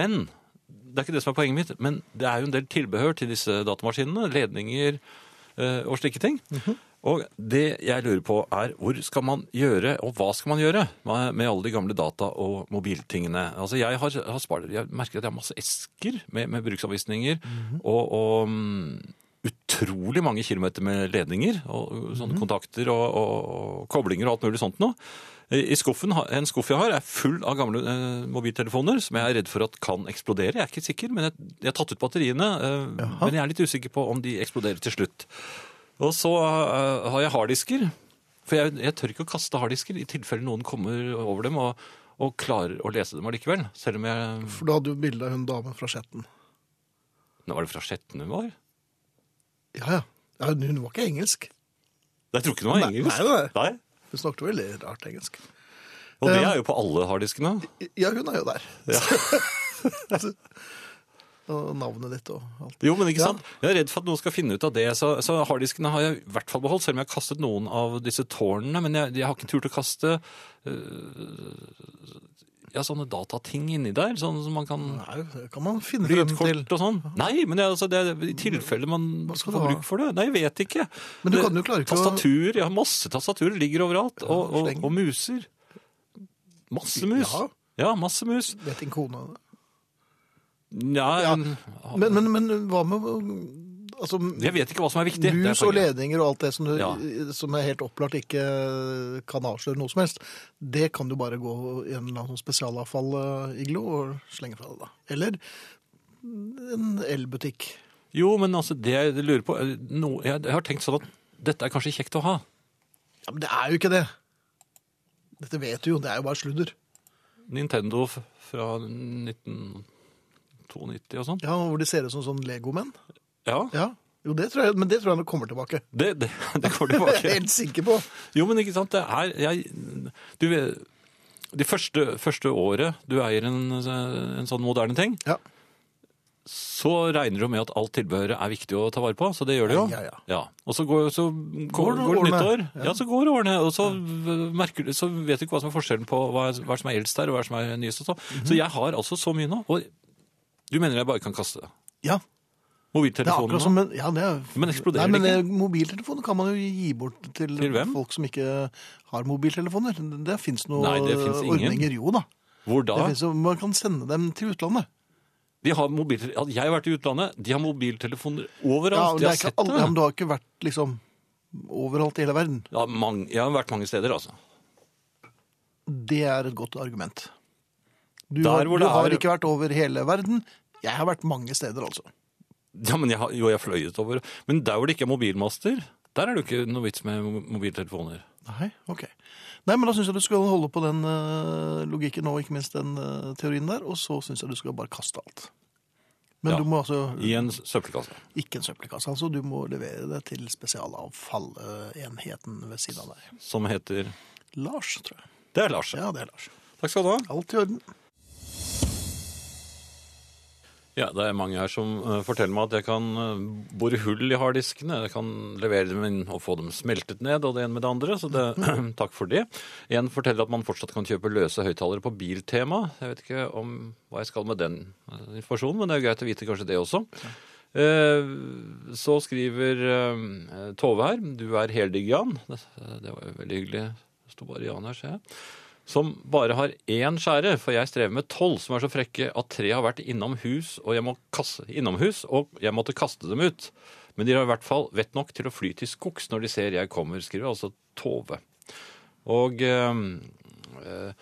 [SPEAKER 3] Men det er ikke det som er poenget mitt, men det er jo en del tilbehør til disse datamaskinene. Ledninger eh, og slike ting. Og det jeg lurer på, er hvor skal man gjøre, og hva skal man gjøre med, med alle de gamle data- og mobiltingene? Altså, jeg har, har spart, jeg merker at jeg har masse esker med, med bruksanvisninger og, og mm, utrolig mange kilometer med ledninger og og sånne kontakter og, og, og koblinger og alt mulig sånt noe. I i skuffen, har- En skuff jeg har, er full av gamle eh, mobiltelefoner som jeg er redd for at kan eksplodere. Jeg er ikke sikker, men jeg, jeg har tatt ut batteriene. Eh, men jeg er litt usikker på om de eksploderer til slutt. Og så eh, har jeg harddisker. For jeg, jeg tør ikke å kaste harddisker i tilfelle noen kommer over dem og, og klarer å lese dem allikevel. Selv om jeg
[SPEAKER 2] For da hadde du bilde av hun damen fra Skjetten.
[SPEAKER 3] Nå var det fra Skjetten hun var?
[SPEAKER 2] Ja, ja. ja hun var ikke engelsk.
[SPEAKER 3] Jeg tror ikke det var
[SPEAKER 2] Nei,
[SPEAKER 3] engelsk.
[SPEAKER 2] nei, nei.
[SPEAKER 3] Nei.
[SPEAKER 2] Hun snakket veldig rart engelsk. Um,
[SPEAKER 3] Og det er jo på alle harddiskene.
[SPEAKER 2] Ja, hun er jo der. og navnet ditt og alt.
[SPEAKER 3] Jo, men ikke
[SPEAKER 2] Ja.
[SPEAKER 3] sant? Jeg er redd for at noen skal finne ut av det. Så, så harddiskene har jeg i hvert fall beholdt, selv om jeg har kastet noen av disse tårnene. Men jeg, jeg har ikke turt å kaste øh, ja, sånne datating inni der, sånn som man kan
[SPEAKER 2] Nei, det kan man finne frem til.
[SPEAKER 3] Lydkort og sånn. Nei, men det, er altså, det er i tilfelle man
[SPEAKER 2] skal du
[SPEAKER 3] får
[SPEAKER 2] ha?
[SPEAKER 3] bruk for det. Nei, jeg vet ikke.
[SPEAKER 2] Men du
[SPEAKER 3] Det-
[SPEAKER 2] kan jo klare ikke å-
[SPEAKER 3] Tastatur, jeg har masse tastaturer, ligger overalt. Og, og,
[SPEAKER 2] sleng.
[SPEAKER 3] og muser. Masse mus.
[SPEAKER 2] Ja.
[SPEAKER 3] Ja. masse mus.
[SPEAKER 2] Vet ikke kona det.
[SPEAKER 3] Nei,
[SPEAKER 2] Ja.
[SPEAKER 3] men-
[SPEAKER 2] Men, men, men hva med altså,
[SPEAKER 3] jeg vet ikke hva som er viktig. Det er
[SPEAKER 2] mus og
[SPEAKER 3] poenget.
[SPEAKER 2] ledninger og alt det som, du,
[SPEAKER 3] Ja.
[SPEAKER 2] som er helt opplagt ikke kan avsløre noe som helst, det kan du bare gå i en eller annen sånn spesialavfall-iglo og slenge fra deg, da. Eller en elbutikk.
[SPEAKER 3] Jo, men altså, det jeg lurer på er noe- jeg, jeg har tenkt sånn at dette er kanskje kjekt å ha.
[SPEAKER 2] Ja, men det er jo ikke det. Dette vet du jo, det er jo bare sludder.
[SPEAKER 3] Nintendo f- fra 1992 og sånn.
[SPEAKER 2] Ja, Hvor de ser ut som sånn legomenn.
[SPEAKER 3] Ja,
[SPEAKER 2] Ja. Jo, det tror jeg, men det tror jeg nok kommer tilbake.
[SPEAKER 3] det, det, det
[SPEAKER 2] Det er
[SPEAKER 3] går
[SPEAKER 2] jeg
[SPEAKER 3] tilbake.
[SPEAKER 2] helt sikker på.
[SPEAKER 3] Jo, men ikke sant, det er jeg, Du vet Det første, første året du eier en, en sånn moderne ting,
[SPEAKER 2] Ja.
[SPEAKER 3] så regner du med at alt tilbehøret er viktig å ta vare på, så det gjør det jo.
[SPEAKER 2] Ja, ja.
[SPEAKER 3] Og så går, så går,
[SPEAKER 2] det
[SPEAKER 3] går det nytt år,
[SPEAKER 2] årene?
[SPEAKER 3] ja. så går årene, og så, øh, merker, du- så vet du ikke hva som er forskjellen på hva, er- hva som er eldst der, og hva som er nyest og sånn.
[SPEAKER 2] Mhm.
[SPEAKER 3] Så jeg har altså så mye nå, og du mener jeg bare kan kaste det?
[SPEAKER 2] ja. Det er
[SPEAKER 3] Mobiltelefonen
[SPEAKER 2] akkurat
[SPEAKER 3] nå?
[SPEAKER 2] som en, ja, det er,
[SPEAKER 3] Men eksploderer
[SPEAKER 2] Nei,
[SPEAKER 3] det
[SPEAKER 2] men ikke? Mobiltelefoner kan man jo gi bort til,
[SPEAKER 3] Til hvem?
[SPEAKER 2] folk som ikke har mobiltelefoner. Det fins noen
[SPEAKER 3] Nei, det finnes ingen.
[SPEAKER 2] ordninger, jo da.
[SPEAKER 3] Hvor
[SPEAKER 2] Det
[SPEAKER 3] da?
[SPEAKER 2] finnes jo- man kan sende dem til utlandet.
[SPEAKER 3] De har mobiltele- ja, jeg har vært i utlandet, de har mobiltelefoner
[SPEAKER 2] Ja, men
[SPEAKER 3] overalt, altså, de
[SPEAKER 2] det er
[SPEAKER 3] har
[SPEAKER 2] ikke
[SPEAKER 3] sett
[SPEAKER 2] alle, ja, men
[SPEAKER 3] det.
[SPEAKER 2] du har ikke vært liksom overalt i hele verden.
[SPEAKER 3] Ja, mange, jeg har vært mange steder, altså.
[SPEAKER 2] Det er et godt argument. Du,
[SPEAKER 3] Der
[SPEAKER 2] har,
[SPEAKER 3] hvor
[SPEAKER 2] du
[SPEAKER 3] det
[SPEAKER 2] har
[SPEAKER 3] er-
[SPEAKER 2] ikke vært over hele verden. Jeg har vært mange steder, altså.
[SPEAKER 3] Ja, men jeg, har- jo, jeg fløyet over. Men der hvor det ikke er mobilmaster, der er det jo ikke noe vits med mo- mobiltelefoner.
[SPEAKER 2] Nei, ok. Nei, men da syns jeg du skal holde på den eh, logikken og ikke minst den eh, teorien der, og så syns jeg du skal bare kaste alt. Men
[SPEAKER 3] Ja.
[SPEAKER 2] du må altså
[SPEAKER 3] I en søppelkasse.
[SPEAKER 2] Ikke en søppelkasse, altså. Du må levere det til spesialavfallenheten ved siden av deg.
[SPEAKER 3] Som heter
[SPEAKER 2] Lars, tror jeg.
[SPEAKER 3] Det er Lars.
[SPEAKER 2] Ja, det er Lars.
[SPEAKER 3] Takk skal du ha.
[SPEAKER 2] Alt i orden.
[SPEAKER 3] Ja, det er mange her som eh, forteller meg at jeg kan eh, bore hull i harddiskene. Jeg kan levere dem inn og få dem smeltet ned, og det ene med det andre. Så det, takk for det. En forteller at man fortsatt kan kjøpe løse høyttalere på Biltema. Jeg vet ikke om hva jeg skal med den eh, informasjonen, men det er jo greit å vite kanskje det også. Eh, Så skriver eh, Tove her, du er heldigg Jan. Det eh, det var jo veldig hyggelig. Det sto bare Jan her, ser jeg. Som bare har én skjære, for jeg strever med tolv som er så frekke at tre har vært innom hus, og jeg, må kaste, innom hus, og jeg måtte kaste dem ut. Men de har i hvert fall vett nok til å fly til skogs når de ser jeg kommer, skriver altså Tove. Og eh, eh,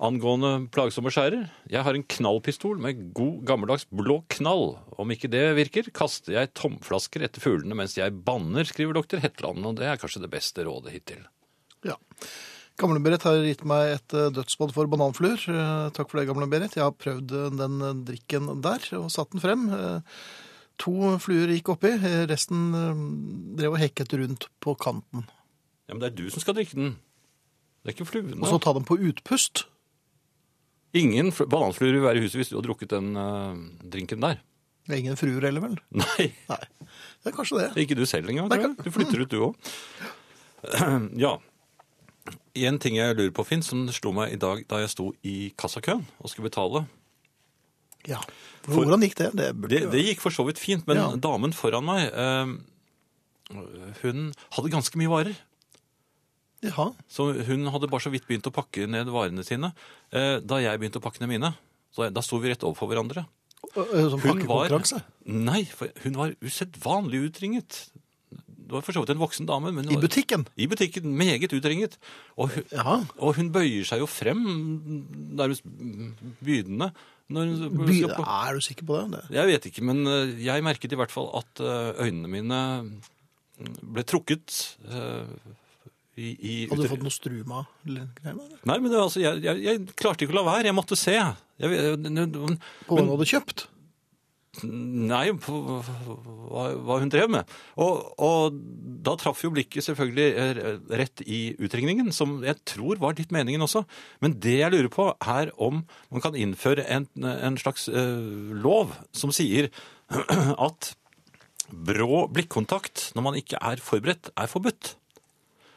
[SPEAKER 3] angående plagsomme skjærer, jeg har en knallpistol med god gammeldags blå knall. Om ikke det virker, kaster jeg tomflasker etter fuglene mens jeg banner, skriver doktor Hetland, og det er kanskje det beste rådet hittil.
[SPEAKER 2] Ja. Gamle-Berit har gitt meg et eh, dødsbad for bananfluer. Eh, Takk for det, Gamle-Berit. Jeg har prøvd eh, den eh, drikken der og satt den frem. Eh, To fluer gikk oppi, eh, resten eh, drev og hekket rundt på kanten.
[SPEAKER 3] Ja, men det er du som skal drikke den. Det er ikke fluene.
[SPEAKER 2] Og så ta dem på utpust.
[SPEAKER 3] Ingen fl- bananfluer vil være i huset hvis du har drukket den eh, drinken der.
[SPEAKER 2] Ingen fruer heller, vel?
[SPEAKER 3] Nei,
[SPEAKER 2] Nei. Det er kanskje det.
[SPEAKER 3] ikke du selv engang. tror jeg. Du flytter ut, du òg. Ja. En ting jeg lurer på, Finn, som slo meg i dag da jeg sto i kassakøen og skulle betale.
[SPEAKER 2] Ja. Hvordan gikk det? Det burde
[SPEAKER 3] Det, det gikk for så vidt fint, men
[SPEAKER 2] Ja.
[SPEAKER 3] damen foran meg, eh, hun hadde ganske mye varer.
[SPEAKER 2] Ja.
[SPEAKER 3] Så hun hadde bare så vidt begynt å pakke ned varene sine. Eh, Da jeg begynte å pakke ned mine, så da sto vi rett overfor hverandre.
[SPEAKER 2] Ø- ø, Som
[SPEAKER 3] Hun var,
[SPEAKER 2] pakkekonkurranse?
[SPEAKER 3] nei, for hun var usedvanlig utringet. Det var for så vidt en voksen dame. Men hun
[SPEAKER 2] I
[SPEAKER 3] var-
[SPEAKER 2] butikken?
[SPEAKER 3] I butikken, meget utringet. Og hun,
[SPEAKER 2] Ja.
[SPEAKER 3] og hun bøyer seg jo frem, nærmest bydende. Når hun
[SPEAKER 2] By,
[SPEAKER 3] skal på.
[SPEAKER 2] er du sikker på det? det?
[SPEAKER 3] Jeg vet ikke, men eh, jeg merket i hvert fall at eh, øynene mine mm, ble trukket eh, i, i
[SPEAKER 2] Hadde
[SPEAKER 3] utri-
[SPEAKER 2] du fått noe struma eller greier? med det?
[SPEAKER 3] Nei, men det, altså, jeg, jeg, jeg klarte ikke å la være. Jeg måtte se. Jeg, jeg- jeg,
[SPEAKER 2] På hva du hadde kjøpt?
[SPEAKER 3] nei, på hva, hva hun drev med. Og, og da traff jo blikket selvfølgelig eh, rett i utringningen, som jeg tror var litt meningen også. Men det jeg lurer på, er om man kan innføre en, en slags eh, lov som sier at brå blikkontakt når man ikke er forberedt, er forbudt.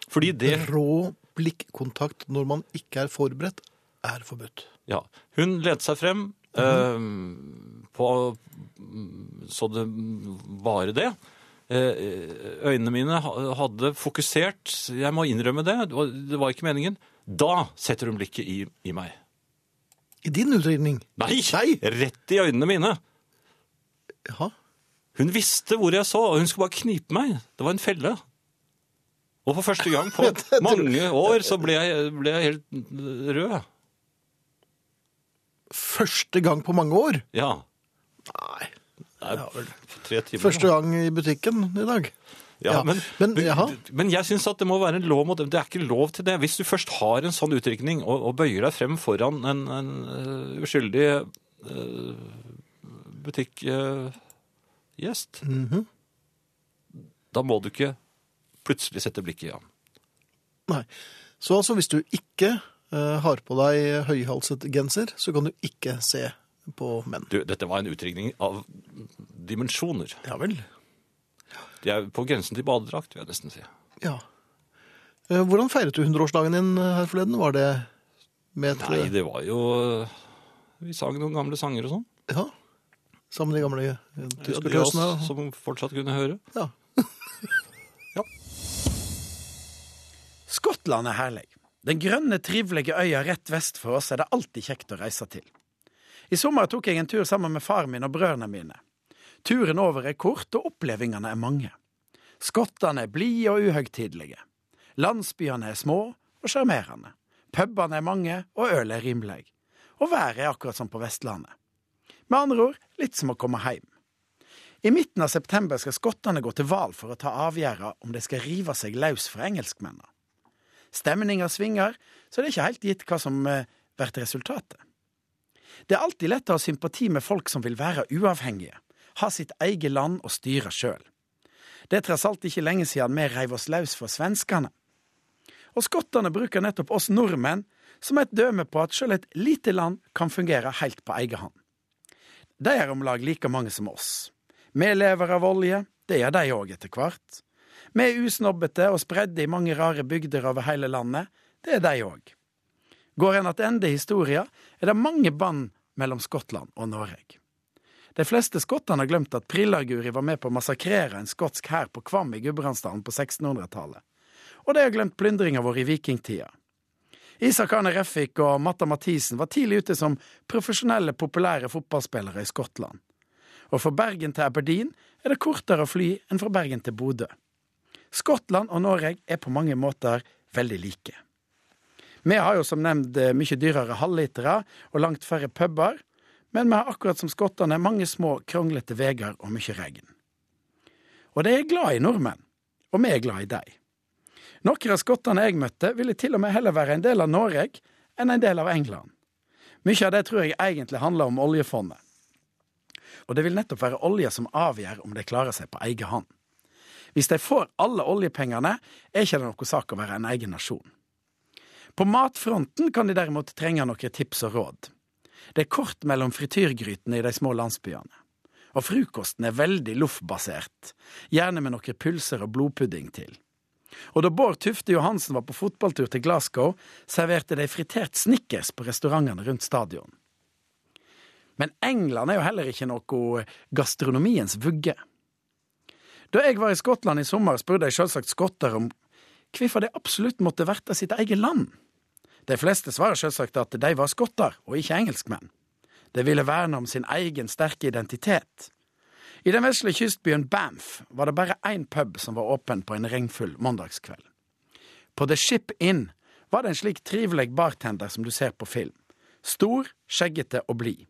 [SPEAKER 3] Fordi det
[SPEAKER 2] Rå blikkontakt når man ikke er forberedt, er forbudt.
[SPEAKER 3] Ja. Hun ledet seg frem
[SPEAKER 2] Mhm.
[SPEAKER 3] eh, på Så det bare det. Eh, øynene mine ha- hadde fokusert Jeg må innrømme det, det var, det var ikke meningen. Da setter hun blikket i, i meg.
[SPEAKER 2] I din utredning?
[SPEAKER 3] Nei!
[SPEAKER 2] Nei!
[SPEAKER 3] Rett i øynene mine!
[SPEAKER 2] Jaha.
[SPEAKER 3] Hun visste hvor jeg så, og hun skulle bare knipe meg. Det var en felle. Og for første gang på mange år så ble jeg, ble jeg helt rød.
[SPEAKER 2] Første gang på mange år?
[SPEAKER 3] Ja.
[SPEAKER 2] Nei.
[SPEAKER 3] Det er
[SPEAKER 2] Ja, vel.
[SPEAKER 3] tre timer.
[SPEAKER 2] Første gang i butikken i dag?
[SPEAKER 3] Ja,
[SPEAKER 2] Ja,
[SPEAKER 3] men,
[SPEAKER 2] men-
[SPEAKER 3] men,
[SPEAKER 2] jaha.
[SPEAKER 3] men jeg syns at det må være en lov mot dem. Det er ikke lov til det. Hvis du først har en sånn utrykning og, og bøyer deg frem foran en, en øh, uskyldig eh, butikkgjest, Mhm. da må du ikke plutselig sette blikket i ham.
[SPEAKER 2] Nei. Så altså, hvis du ikke eh, har på deg høyhalset genser, så kan du ikke se på menn.
[SPEAKER 3] Du, dette var en utrykning av dimensjoner.
[SPEAKER 2] Ja vel.
[SPEAKER 3] De er på grensen til badedrakt, vil jeg nesten si.
[SPEAKER 2] Ja. Eh, Hvordan feiret du 100-årsdagen din eh, her forleden? Var det med et
[SPEAKER 3] Nei, det var jo øh, Vi sang noen gamle sanger og sånn.
[SPEAKER 2] Ja. Sammen med de gamle eh,
[SPEAKER 3] Ja, de av oss
[SPEAKER 2] tyskertøsene? og-
[SPEAKER 3] som fortsatt kunne høre.
[SPEAKER 2] Ja.
[SPEAKER 4] Skottland er herlig. Den grønne, trivelige øya rett vest for oss er det alltid kjekt å reise til. I sommer tok jeg en tur sammen med far min og brødrene mine. Turen over er kort, og opplevingene er mange. Skottene er blide og uhøgtidelige. Landsbyene er små og sjarmerende. Pubene er mange, og ølet er rimelig. Og været er akkurat som på Vestlandet. Med andre ord, litt som å komme hjem. I midten av september skal skottene gå til valg for å ta avgjørelsen om de skal rive seg løs fra engelskmennene. Stemninga svinger, så det er ikke helt gitt hva som eh, blir resultatet. Det er alltid lett å ha sympati med folk som vil være uavhengige, ha sitt eget land og styre sjøl. Det er tross alt ikke lenge siden vi reiv oss løs fra svenskene. Og skottene bruker nettopp oss nordmenn som et døme på at sjøl et lite land kan fungere helt på egen hånd. De er om lag like mange som oss. Vi lever av olje, det gjør de òg etter hvert. Vi er usnobbete og spredde i mange rare bygder over hele landet. Det er de òg. Går en tilbake historia, er det mange bånd mellom Skottland og Norge. De fleste skottene har glemt at Prillarguri var med på å massakrere en skotsk hær på Kvam i Gudbrandsdalen på 1600-tallet. Og de har glemt plyndringa vår i vikingtida. Isak Arne Refik og Matta Mathisen var tidlig ute som profesjonelle, populære fotballspillere i Skottland. Og fra Bergen til Aberdeen er det kortere å fly enn fra Bergen til Bodø. Skottland og Norge er på mange måter veldig like. Vi har jo som nevnt eh, mye dyrere halvlitere og langt færre puber, men vi har akkurat som skottene mange små, kronglete veier og mye regn. Og de er glad i nordmenn, og vi er glad i dem. Noen av skottene jeg møtte, ville til og med heller være en del av Norge enn en del av England. Mye av det tror jeg egentlig handler om oljefondet. Og det vil nettopp være olja som avgjør om de klarer seg på egen hånd. Hvis de får alle oljepengene, er ikke det noe sak å være en egen nasjon. På matfronten kan de derimot trenge noen tips og råd. Det er kort mellom frityrgrytene i de små landsbyene. Og frokosten er veldig loffbasert, gjerne med noen pulser og blodpudding til. Og da Bård Tufte Johansen var på fotballtur til Glasgow, serverte de fritert snickers på restaurantene rundt stadion. Men England er jo heller ikke noe gastronomiens vugge. Da jeg var i Skottland i sommer, spurte jeg selvsagt skotter om hvorfor de absolutt måtte verte sitt eget land. De fleste svarer selvsagt at de var skotter, og ikke engelskmenn. De ville verne om sin egen sterke identitet. I den vesle kystbyen Banff var det bare én pub som var åpen på en regnfull mandagskveld. På The Ship Inn var det en slik trivelig bartender som du ser på film. Stor, skjeggete og blid.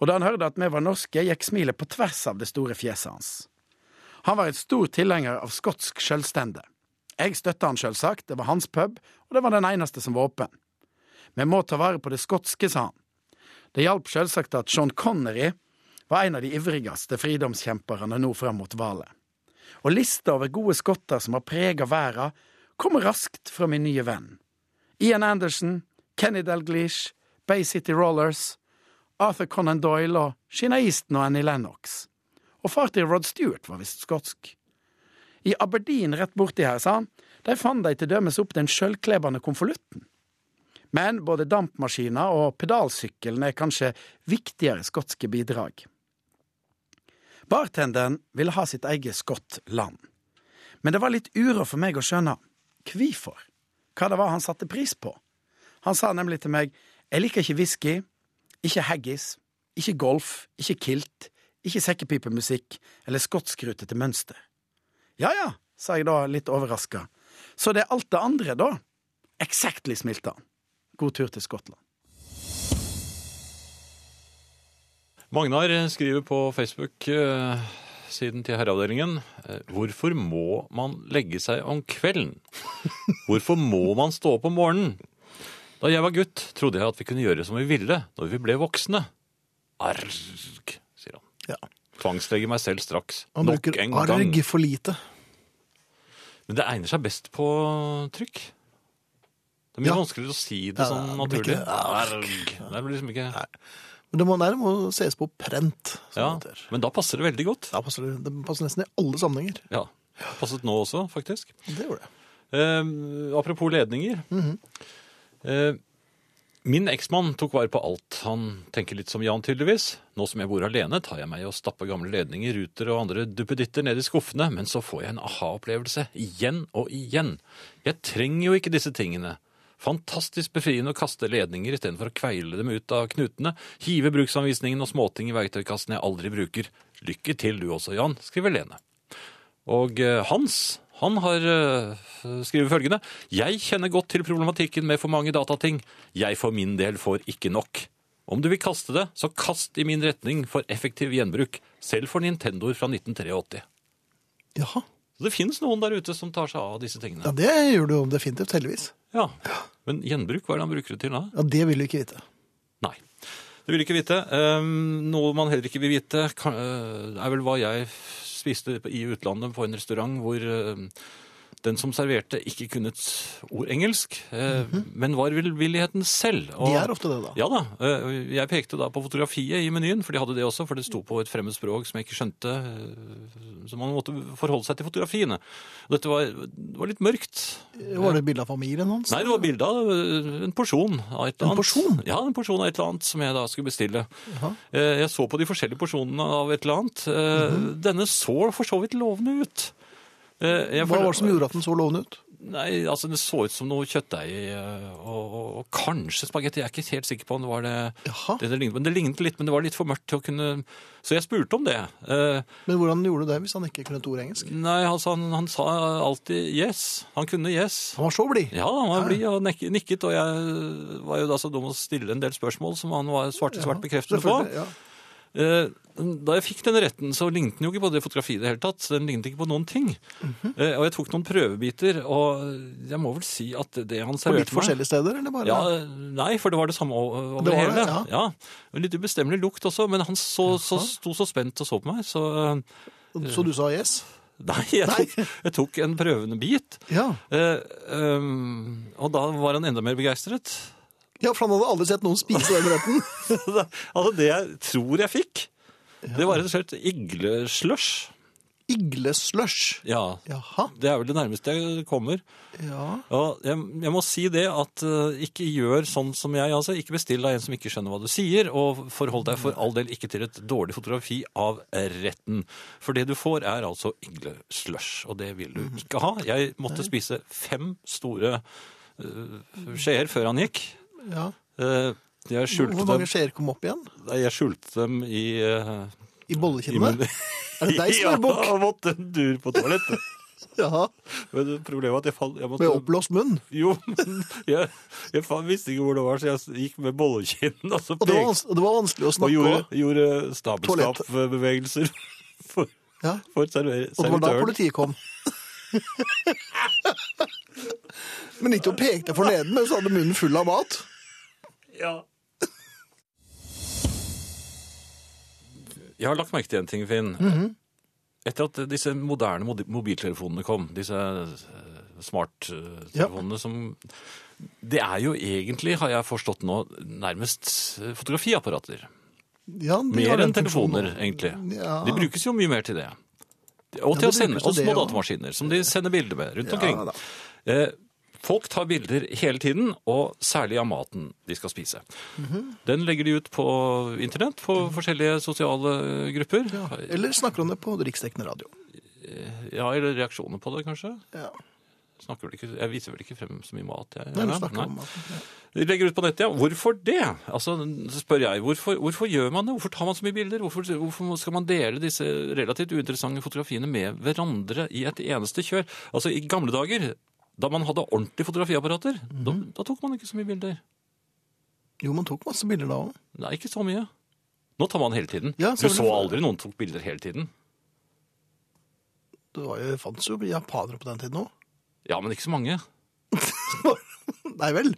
[SPEAKER 4] Og da han hørte at vi var norske, gikk smilet på tvers av det store fjeset hans. Han var en stor tilhenger av skotsk selvstende. Jeg støtta han selvsagt, det var hans pub, og det var den eneste som var åpen. Vi må ta vare på det skotske, sa han. Det hjalp selvsagt at Sean Connery var en av de ivrigste fridomskjemperne nå fram mot valet. Og lista over gode skotter som har prega verden, kommer raskt fra min nye venn. Ian Anderson, Kenny Dalglish, Bay City Rollers, Arthur Conan Doyle og Sheena Easton og Annie Lennox. Og far til Rod Stewart var visst skotsk. I Aberdeen rett borti her, sa han, der fant de til dømes opp den sjølklebende konvolutten. Men både dampmaskiner og pedalsykkelen er kanskje viktigere skotske bidrag. Bartenderen ville ha sitt eget Skottland. Men det var litt uråd for meg å skjønne hvorfor, hva det var han satte pris på. Han sa nemlig til meg, jeg liker ikke whisky, ikke haggis, ikke golf, ikke kilt, ikke sekkepipemusikk eller skotskrutete mønster. Ja ja, sa jeg da litt overraska, så det er alt det andre, da? Exactly, smilte han. God tur til Skottland.
[SPEAKER 3] Magnar skriver på Facebook-siden til Herreavdelingen eh, Hvorfor må man legge seg om kvelden? Hvorfor må man stå opp om morgenen? Da jeg var gutt, trodde jeg at vi kunne gjøre som vi ville når vi ble voksne. Arg, sier han.
[SPEAKER 2] Ja.
[SPEAKER 3] Tvangslegger meg selv straks.
[SPEAKER 2] Han
[SPEAKER 3] Nok
[SPEAKER 2] bruker
[SPEAKER 3] en gang.
[SPEAKER 2] arg for lite.
[SPEAKER 3] Men det egner seg best på trykk. Det er mye
[SPEAKER 2] Ja.
[SPEAKER 3] vanskeligere å si det
[SPEAKER 2] Ja,
[SPEAKER 3] sånn
[SPEAKER 2] det blir
[SPEAKER 3] naturlig.
[SPEAKER 2] ikke
[SPEAKER 3] Arg. Det blir liksom ikke...
[SPEAKER 2] Men det må, nei, det må ses på prent. som
[SPEAKER 3] Ja,
[SPEAKER 2] det heter.
[SPEAKER 3] men da passer det veldig godt.
[SPEAKER 2] Da passer det, det passer nesten i alle sammenhenger.
[SPEAKER 3] Ja. Passet nå også, faktisk.
[SPEAKER 2] Det gjorde det.
[SPEAKER 3] Eh, apropos ledninger. eh, min eksmann tok vare på alt. Han tenker litt som Jan, tydeligvis. Nå som jeg bor alene, tar jeg meg i å stappe gamle ledninger, ruter og andre duppeditter ned i skuffene, men så får jeg en aha-opplevelse igjen og igjen. Jeg trenger jo ikke disse tingene. Fantastisk befriende å kaste ledninger istedenfor å kveile dem ut av knutene, hive bruksanvisningen og småting i verktøykassen jeg aldri bruker. Lykke til du også, Jan, skriver Lene. Og eh, Hans han har eh, skrevet følgende Jeg kjenner godt til problematikken med for mange datating. Jeg for min del får ikke nok. Om du vil kaste det, så kast i min retning for effektiv gjenbruk. Selv for Nintendoer fra 1983.
[SPEAKER 2] Jaha.
[SPEAKER 3] Så det finnes noen der ute som tar seg av disse
[SPEAKER 2] Ja,
[SPEAKER 3] tingene.
[SPEAKER 2] det gjør du jo definitivt, heldigvis.
[SPEAKER 3] Ja. Men gjenbruk, hva er det han bruker det til da?
[SPEAKER 2] Ja, Det vil du ikke vite.
[SPEAKER 3] Nei. Det vil jeg ikke vite. Ehm, noe man heller ikke vil vite, kan, eh, er vel hva jeg spiste på- i utlandet på en restaurant hvor eh, den som serverte, ikke kunne et ord engelsk, eh, men var velvilligheten selv.
[SPEAKER 2] Mhm. De er ofte det, da.
[SPEAKER 3] Ja da. eh, Jeg pekte da på fotografiet i menyen, for de hadde det også, for det sto på et fremmed språk som jeg ikke skjønte, eh, så man måtte forholde seg til fotografiene. Dette var, det var litt mørkt.
[SPEAKER 2] Var det et bilde av familien hans?
[SPEAKER 3] Nei, det var bilde av øh, en porsjon av et eller
[SPEAKER 2] En
[SPEAKER 3] annet.
[SPEAKER 2] porsjon?
[SPEAKER 3] Ja, en porsjon av et eller annet som jeg da skulle bestille.
[SPEAKER 2] Jaha.
[SPEAKER 3] Eh, Jeg så på de forskjellige porsjonene av et eller annet. Eh,
[SPEAKER 2] Mhm.
[SPEAKER 3] Denne så for så vidt lovende ut. Eh, jeg
[SPEAKER 2] Hva
[SPEAKER 3] føl-
[SPEAKER 2] var det som gjorde at den så lovende ut?
[SPEAKER 3] Nei, altså Den så ut som noe kjøttdeig eh, og, og, og kanskje spagetti. Jeg er ikke helt sikker på om det var det.
[SPEAKER 2] Jaha.
[SPEAKER 3] det, det lignet, men det lignet litt, men det var litt for mørkt til å kunne Så jeg spurte om det. Eh,
[SPEAKER 2] Men hvordan gjorde du det hvis han ikke kunne et ord engelsk?
[SPEAKER 3] Nei, altså, han, han sa alltid yes. Han kunne yes.
[SPEAKER 2] Han var så blid.
[SPEAKER 3] Ja, han var blid og nek- nikket, og jeg øh, var jo da så dum å stille en del spørsmål som han var svarte svart bekreftende på.
[SPEAKER 2] Selvfølgelig, ja.
[SPEAKER 3] Eh, Da jeg fikk den retten, så lignet den jo ikke på det fotografiet i det hele tatt. så Den lignet ikke på noen ting.
[SPEAKER 2] Mhm.
[SPEAKER 3] Eh, Og jeg tok noen prøvebiter, og jeg må vel si at det han
[SPEAKER 2] På
[SPEAKER 3] serverte
[SPEAKER 2] litt forskjellige steder, eller bare?
[SPEAKER 3] ja, eh, Nei, for det var det samme o- over
[SPEAKER 2] Det var
[SPEAKER 3] hele.
[SPEAKER 2] det, ja.
[SPEAKER 3] En Litt ubestemmelig lukt også, men han så, så, sto så spent og så på meg, så eh,
[SPEAKER 2] Så du sa yes?
[SPEAKER 3] Nei, jeg tok, jeg tok en prøvende bit.
[SPEAKER 2] Ja.
[SPEAKER 3] Eh, ehm, og da var han enda mer begeistret.
[SPEAKER 2] ja, for han hadde aldri sett noen spise den retten.
[SPEAKER 3] altså det jeg tror jeg fikk, det var rett og slett igleslush.
[SPEAKER 2] Igleslush.
[SPEAKER 3] Ja,
[SPEAKER 2] Jaha.
[SPEAKER 3] det er vel det nærmeste jeg kommer.
[SPEAKER 2] Ja.
[SPEAKER 3] Og jeg, jeg må si det at eh, ikke gjør sånn som jeg, altså. Ikke bestill deg en som ikke skjønner hva du sier, og forhold deg
[SPEAKER 2] Mm.
[SPEAKER 3] for all del ikke til et dårlig fotografi av retten. For det du får er altså igleslush, og det vil du
[SPEAKER 2] Mm.
[SPEAKER 3] ikke ha. Jeg måtte spise fem store eh, skjeer før han gikk.
[SPEAKER 2] ja.
[SPEAKER 3] Eh, jeg skjulte,
[SPEAKER 2] Hvor
[SPEAKER 3] dem,
[SPEAKER 2] mange skjeer kom opp igjen?
[SPEAKER 3] Nei, jeg skjulte dem i eh,
[SPEAKER 2] I
[SPEAKER 3] i
[SPEAKER 2] bollekinnene?
[SPEAKER 3] munnen.
[SPEAKER 2] Er det deg som er bukk?
[SPEAKER 3] Ja, jeg måtte en tur på toalettet.
[SPEAKER 2] Jaha.
[SPEAKER 3] Men problemet var at jeg, falt, jeg måtte
[SPEAKER 2] Med oppblåst munn?
[SPEAKER 3] Jo, men jeg, jeg fa- visste ikke hvor det var, så jeg gikk med bollekinn og så
[SPEAKER 2] Og det var,
[SPEAKER 3] pekte
[SPEAKER 2] vans- det var vanskelig å
[SPEAKER 3] og
[SPEAKER 2] snakke
[SPEAKER 3] gjorde,
[SPEAKER 2] om.
[SPEAKER 3] gjorde stabelskapbevegelser for,
[SPEAKER 2] Ja.
[SPEAKER 3] for server,
[SPEAKER 2] Og det var da
[SPEAKER 3] servitøren.
[SPEAKER 2] politiet kom. Men ikke å peke deg for neden, men så hadde munnen full av mat.
[SPEAKER 3] Ja. Jeg har lagt merke til en ting, Finn.
[SPEAKER 2] Mhm.
[SPEAKER 3] Etter at disse moderne modi- mobiltelefonene kom, disse eh, smarttelefonene som Det er jo egentlig, har jeg forstått nå, nærmest eh, fotografiapparater.
[SPEAKER 2] Ja, de har
[SPEAKER 3] Mer
[SPEAKER 2] den
[SPEAKER 3] enn telefoner,
[SPEAKER 2] funksjonen.
[SPEAKER 3] egentlig.
[SPEAKER 2] Ja.
[SPEAKER 3] De brukes jo mye mer til det. Og
[SPEAKER 2] Ja, det
[SPEAKER 3] til å sende
[SPEAKER 2] brukes til
[SPEAKER 3] oss
[SPEAKER 2] det,
[SPEAKER 3] små
[SPEAKER 2] ja.
[SPEAKER 3] datamaskiner, som de sender bilder med
[SPEAKER 2] Ja,
[SPEAKER 3] rundt
[SPEAKER 2] da.
[SPEAKER 3] omkring. Eh, Folk tar bilder hele tiden, og særlig av maten de skal spise.
[SPEAKER 2] Mhm.
[SPEAKER 3] Den legger de ut på internett, på forskjellige sosiale grupper. Ja.
[SPEAKER 2] Eller snakker om det på riksdekkende radio.
[SPEAKER 3] eller reaksjoner på det, kanskje.
[SPEAKER 2] Ja.
[SPEAKER 3] Snakker vel ikke, jeg viser vel ikke frem så mye mat, jeg.
[SPEAKER 2] Nei,
[SPEAKER 3] Ja,
[SPEAKER 2] vi snakker
[SPEAKER 3] nei.
[SPEAKER 2] om maten. Ja.
[SPEAKER 3] De legger ut på nettet, ja. Hvorfor det? Altså, så spør jeg, hvorfor, hvorfor gjør man det? Hvorfor tar man så mye bilder? Hvorfor, hvorfor skal man dele disse relativt uinteressante fotografiene med hverandre i et eneste kjør? Altså, i gamle dager, da man hadde ordentlige fotografiapparater, da,
[SPEAKER 2] Mhm.
[SPEAKER 3] da tok man ikke så mye bilder.
[SPEAKER 2] Jo, man tok masse bilder da òg.
[SPEAKER 3] Nei, ikke så mye. Nå tar man hele tiden.
[SPEAKER 2] Ja,
[SPEAKER 3] du
[SPEAKER 2] selvfølgelig.
[SPEAKER 3] så aldri noen tok bilder hele tiden.
[SPEAKER 2] Det var jo- fantes jo japanere på den tiden òg.
[SPEAKER 3] Ja, men ikke så mange.
[SPEAKER 2] Nei vel.